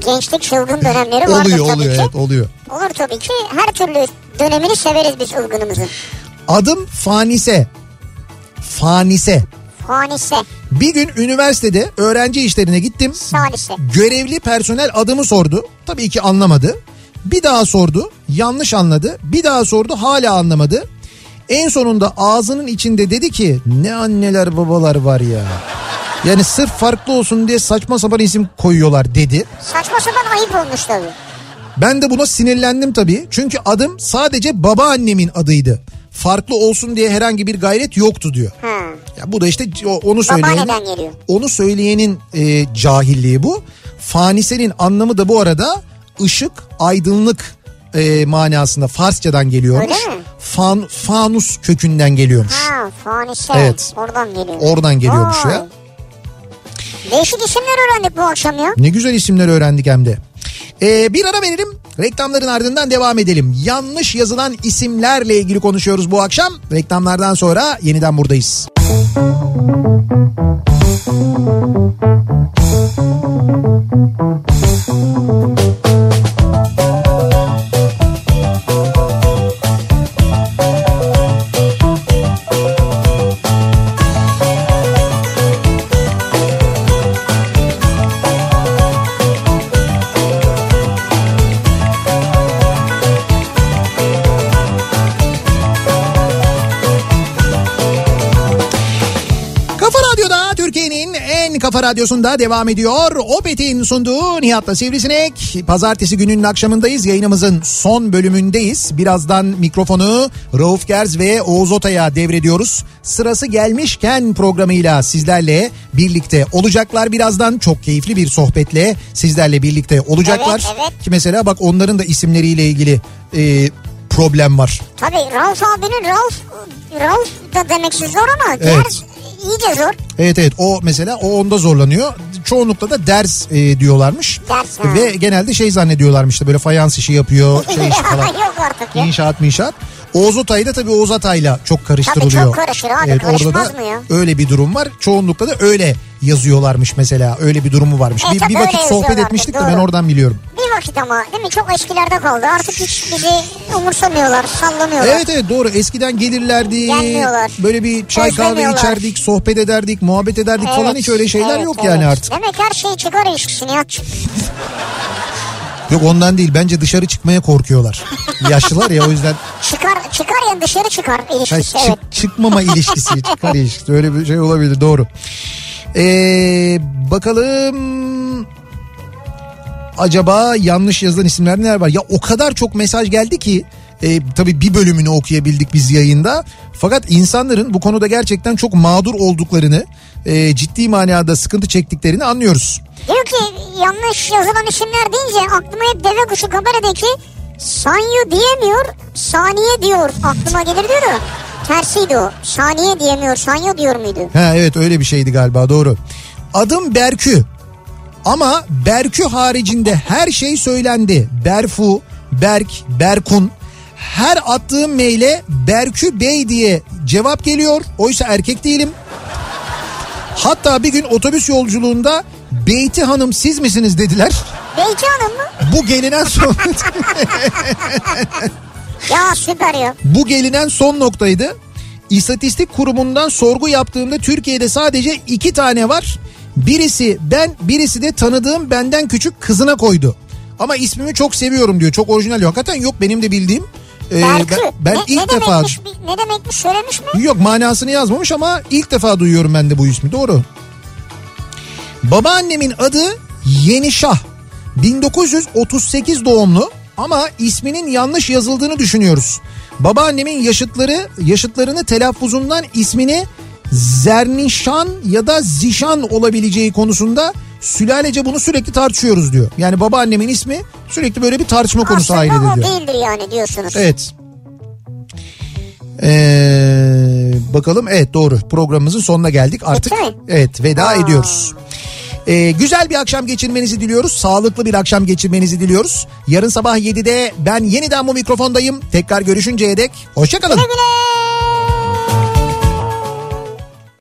gençlik çılgın dönemleri E, vardır oluyor tabii oluyor ki. evet oluyor. Olur tabii ki her türlü dönemini severiz biz Ilgın'ımızın. Adım Fanise. Fanise. Fanise, Bir gün üniversitede öğrenci işlerine gittim. salise. Görevli personel adımı sordu. Tabii ki anlamadı. Bir daha sordu. Yanlış anladı. Bir daha sordu. Hala anlamadı. En sonunda ağzının içinde dedi ki ne anneler babalar var ya. Yani sırf farklı olsun diye saçma sapan isim koyuyorlar dedi. Saçma sapan ayıp olmuş tabii. Ben de buna sinirlendim tabii. Çünkü adım sadece babaannemin adıydı. Farklı olsun diye herhangi bir gayret yoktu diyor. Ha. Ya bu da işte o- onu söyleyenin, Babaanneden geliyor. onu söyleyenin e, cahilliği bu. Fanise'nin anlamı da bu arada ışık, aydınlık e, manasında Farsçadan geliyormuş. Öyle mi? Fan, fanus kökünden geliyormuş. Ha, fanise. Evet. Oradan geliyor. Oradan geliyormuş Vay. ya. Değişik isimler öğrendik bu akşam ya. Ne güzel isimleri öğrendik hem de. Ee, bir ara verelim. Reklamların ardından devam edelim. Yanlış yazılan isimlerle ilgili konuşuyoruz bu akşam. Reklamlardan sonra yeniden buradayız. Kafa Radyo'da Türkiye'nin en kafa Kafa Radyosu'nda devam ediyor. Opet'in sunduğu Nihat'la Sivrisinek. Pazartesi gününün akşamındayız. Yayınımızın son bölümündeyiz. Birazdan mikrofonu Rauf Gerz ve Oğuz Otay'a devrediyoruz. Sırası gelmişken programıyla sizlerle birlikte olacaklar. Birazdan çok keyifli bir sohbetle sizlerle birlikte olacaklar. Evet, evet. Ki mesela bak onların da isimleriyle ilgili e, problem var. Tabii Rauf abinin Rauf, Rauf da demeksi zor ama Evet. Gerz iyice zor. Evet evet o mesela o onda zorlanıyor. Çoğunlukla da ders e, diyorlarmış. Ders, ha. Ve genelde şey zannediyorlarmıştı böyle fayans işi yapıyor şey işi falan. Yok artık ya. İnşaat inşaat. Oğuz Atay da tabii Oğuz Atay'la çok karıştırılıyor. Tabii çok karışır abi, Evet, orada da karışmaz mı ya? öyle bir durum var. Çoğunlukla da öyle yazıyorlarmış mesela. Öyle bir durumu varmış. E, bir, tabii bir vakit öyle sohbet yazıyorlardı, etmiştik de doğru. ben oradan biliyorum. Bir vakit ama değil mi çok eskilerde kaldı. Artık hiç bizi umursamıyorlar, sallamıyorlar. Evet evet doğru eskiden gelirlerdi. Gelmiyorlar. Böyle bir çay kahve Özlemiyorlar. içerdik, sohbet ederdik, muhabbet ederdik falan Evet, hiç öyle şeyler evet, yok evet. yani artık. Demek her şey çıkar ilişkisini ya. Yok ondan değil bence dışarı çıkmaya korkuyorlar. Yaşlılar ya o yüzden Çıkar, çıkar yani dışarı çıkar Ha, ilişkisi. çık- Evet. çıkmama ilişkisi çıkar ilişkisi öyle bir şey olabilir doğru. Ee, bakalım acaba yanlış yazılan isimler neler var? Ya o kadar çok mesaj geldi ki e, tabii bir bölümünü okuyabildik biz yayında. Fakat insanların bu konuda gerçekten çok mağdur olduklarını e, ciddi manada sıkıntı çektiklerini anlıyoruz. Diyor ki yanlış yazılan isimler deyince aklıma hep deve kuşu kabaredeki Sanyu diyemiyor, saniye diyor aklıma gelir diyor da tersiydi o. Saniye diyemiyor, Sanyu diyor muydu? Ha evet öyle bir şeydi galiba doğru. Adım Berkü. Ama Berkü haricinde her şey söylendi. Berfu, Berk, Berkun. Her attığım maile Berkü Bey diye cevap geliyor. Oysa erkek değilim. Hatta bir gün otobüs yolculuğunda Beyti Hanım siz misiniz dediler. Beyti Hanım mı? Bu gelinen son Ya süper ya. bu gelinen son noktaydı. İstatistik kurumundan sorgu yaptığımda Türkiye'de sadece iki tane var. Birisi ben, birisi de tanıdığım benden küçük kızına koydu. Ama ismimi çok seviyorum diyor. Çok orijinal. yok. Hakikaten yok benim de bildiğim. Ee, Berkü. ben, ben ne, ilk ne defa Demekmiş, bi- ne demekmiş söylemiş mi? Yok manasını yazmamış ama ilk defa duyuyorum ben de bu ismi doğru. Babaannemin adı Yenişah. 1938 doğumlu ama isminin yanlış yazıldığını düşünüyoruz. Babaannemin yaşıtları yaşıtlarını telaffuzundan ismini Zernişan ya da Zişan olabileceği konusunda sülalece bunu sürekli tartışıyoruz diyor. Yani babaannemin ismi sürekli böyle bir tartışma konusu Aslında ailede o diyor. değildir yani diyorsunuz. Evet. Ee, bakalım evet doğru programımızın sonuna geldik artık. Bitti mi? Evet veda Aa. ediyoruz. Ee, güzel bir akşam geçirmenizi diliyoruz. Sağlıklı bir akşam geçirmenizi diliyoruz. Yarın sabah 7'de ben yeniden bu mikrofondayım. Tekrar görüşünceye dek hoşçakalın. Güle güle.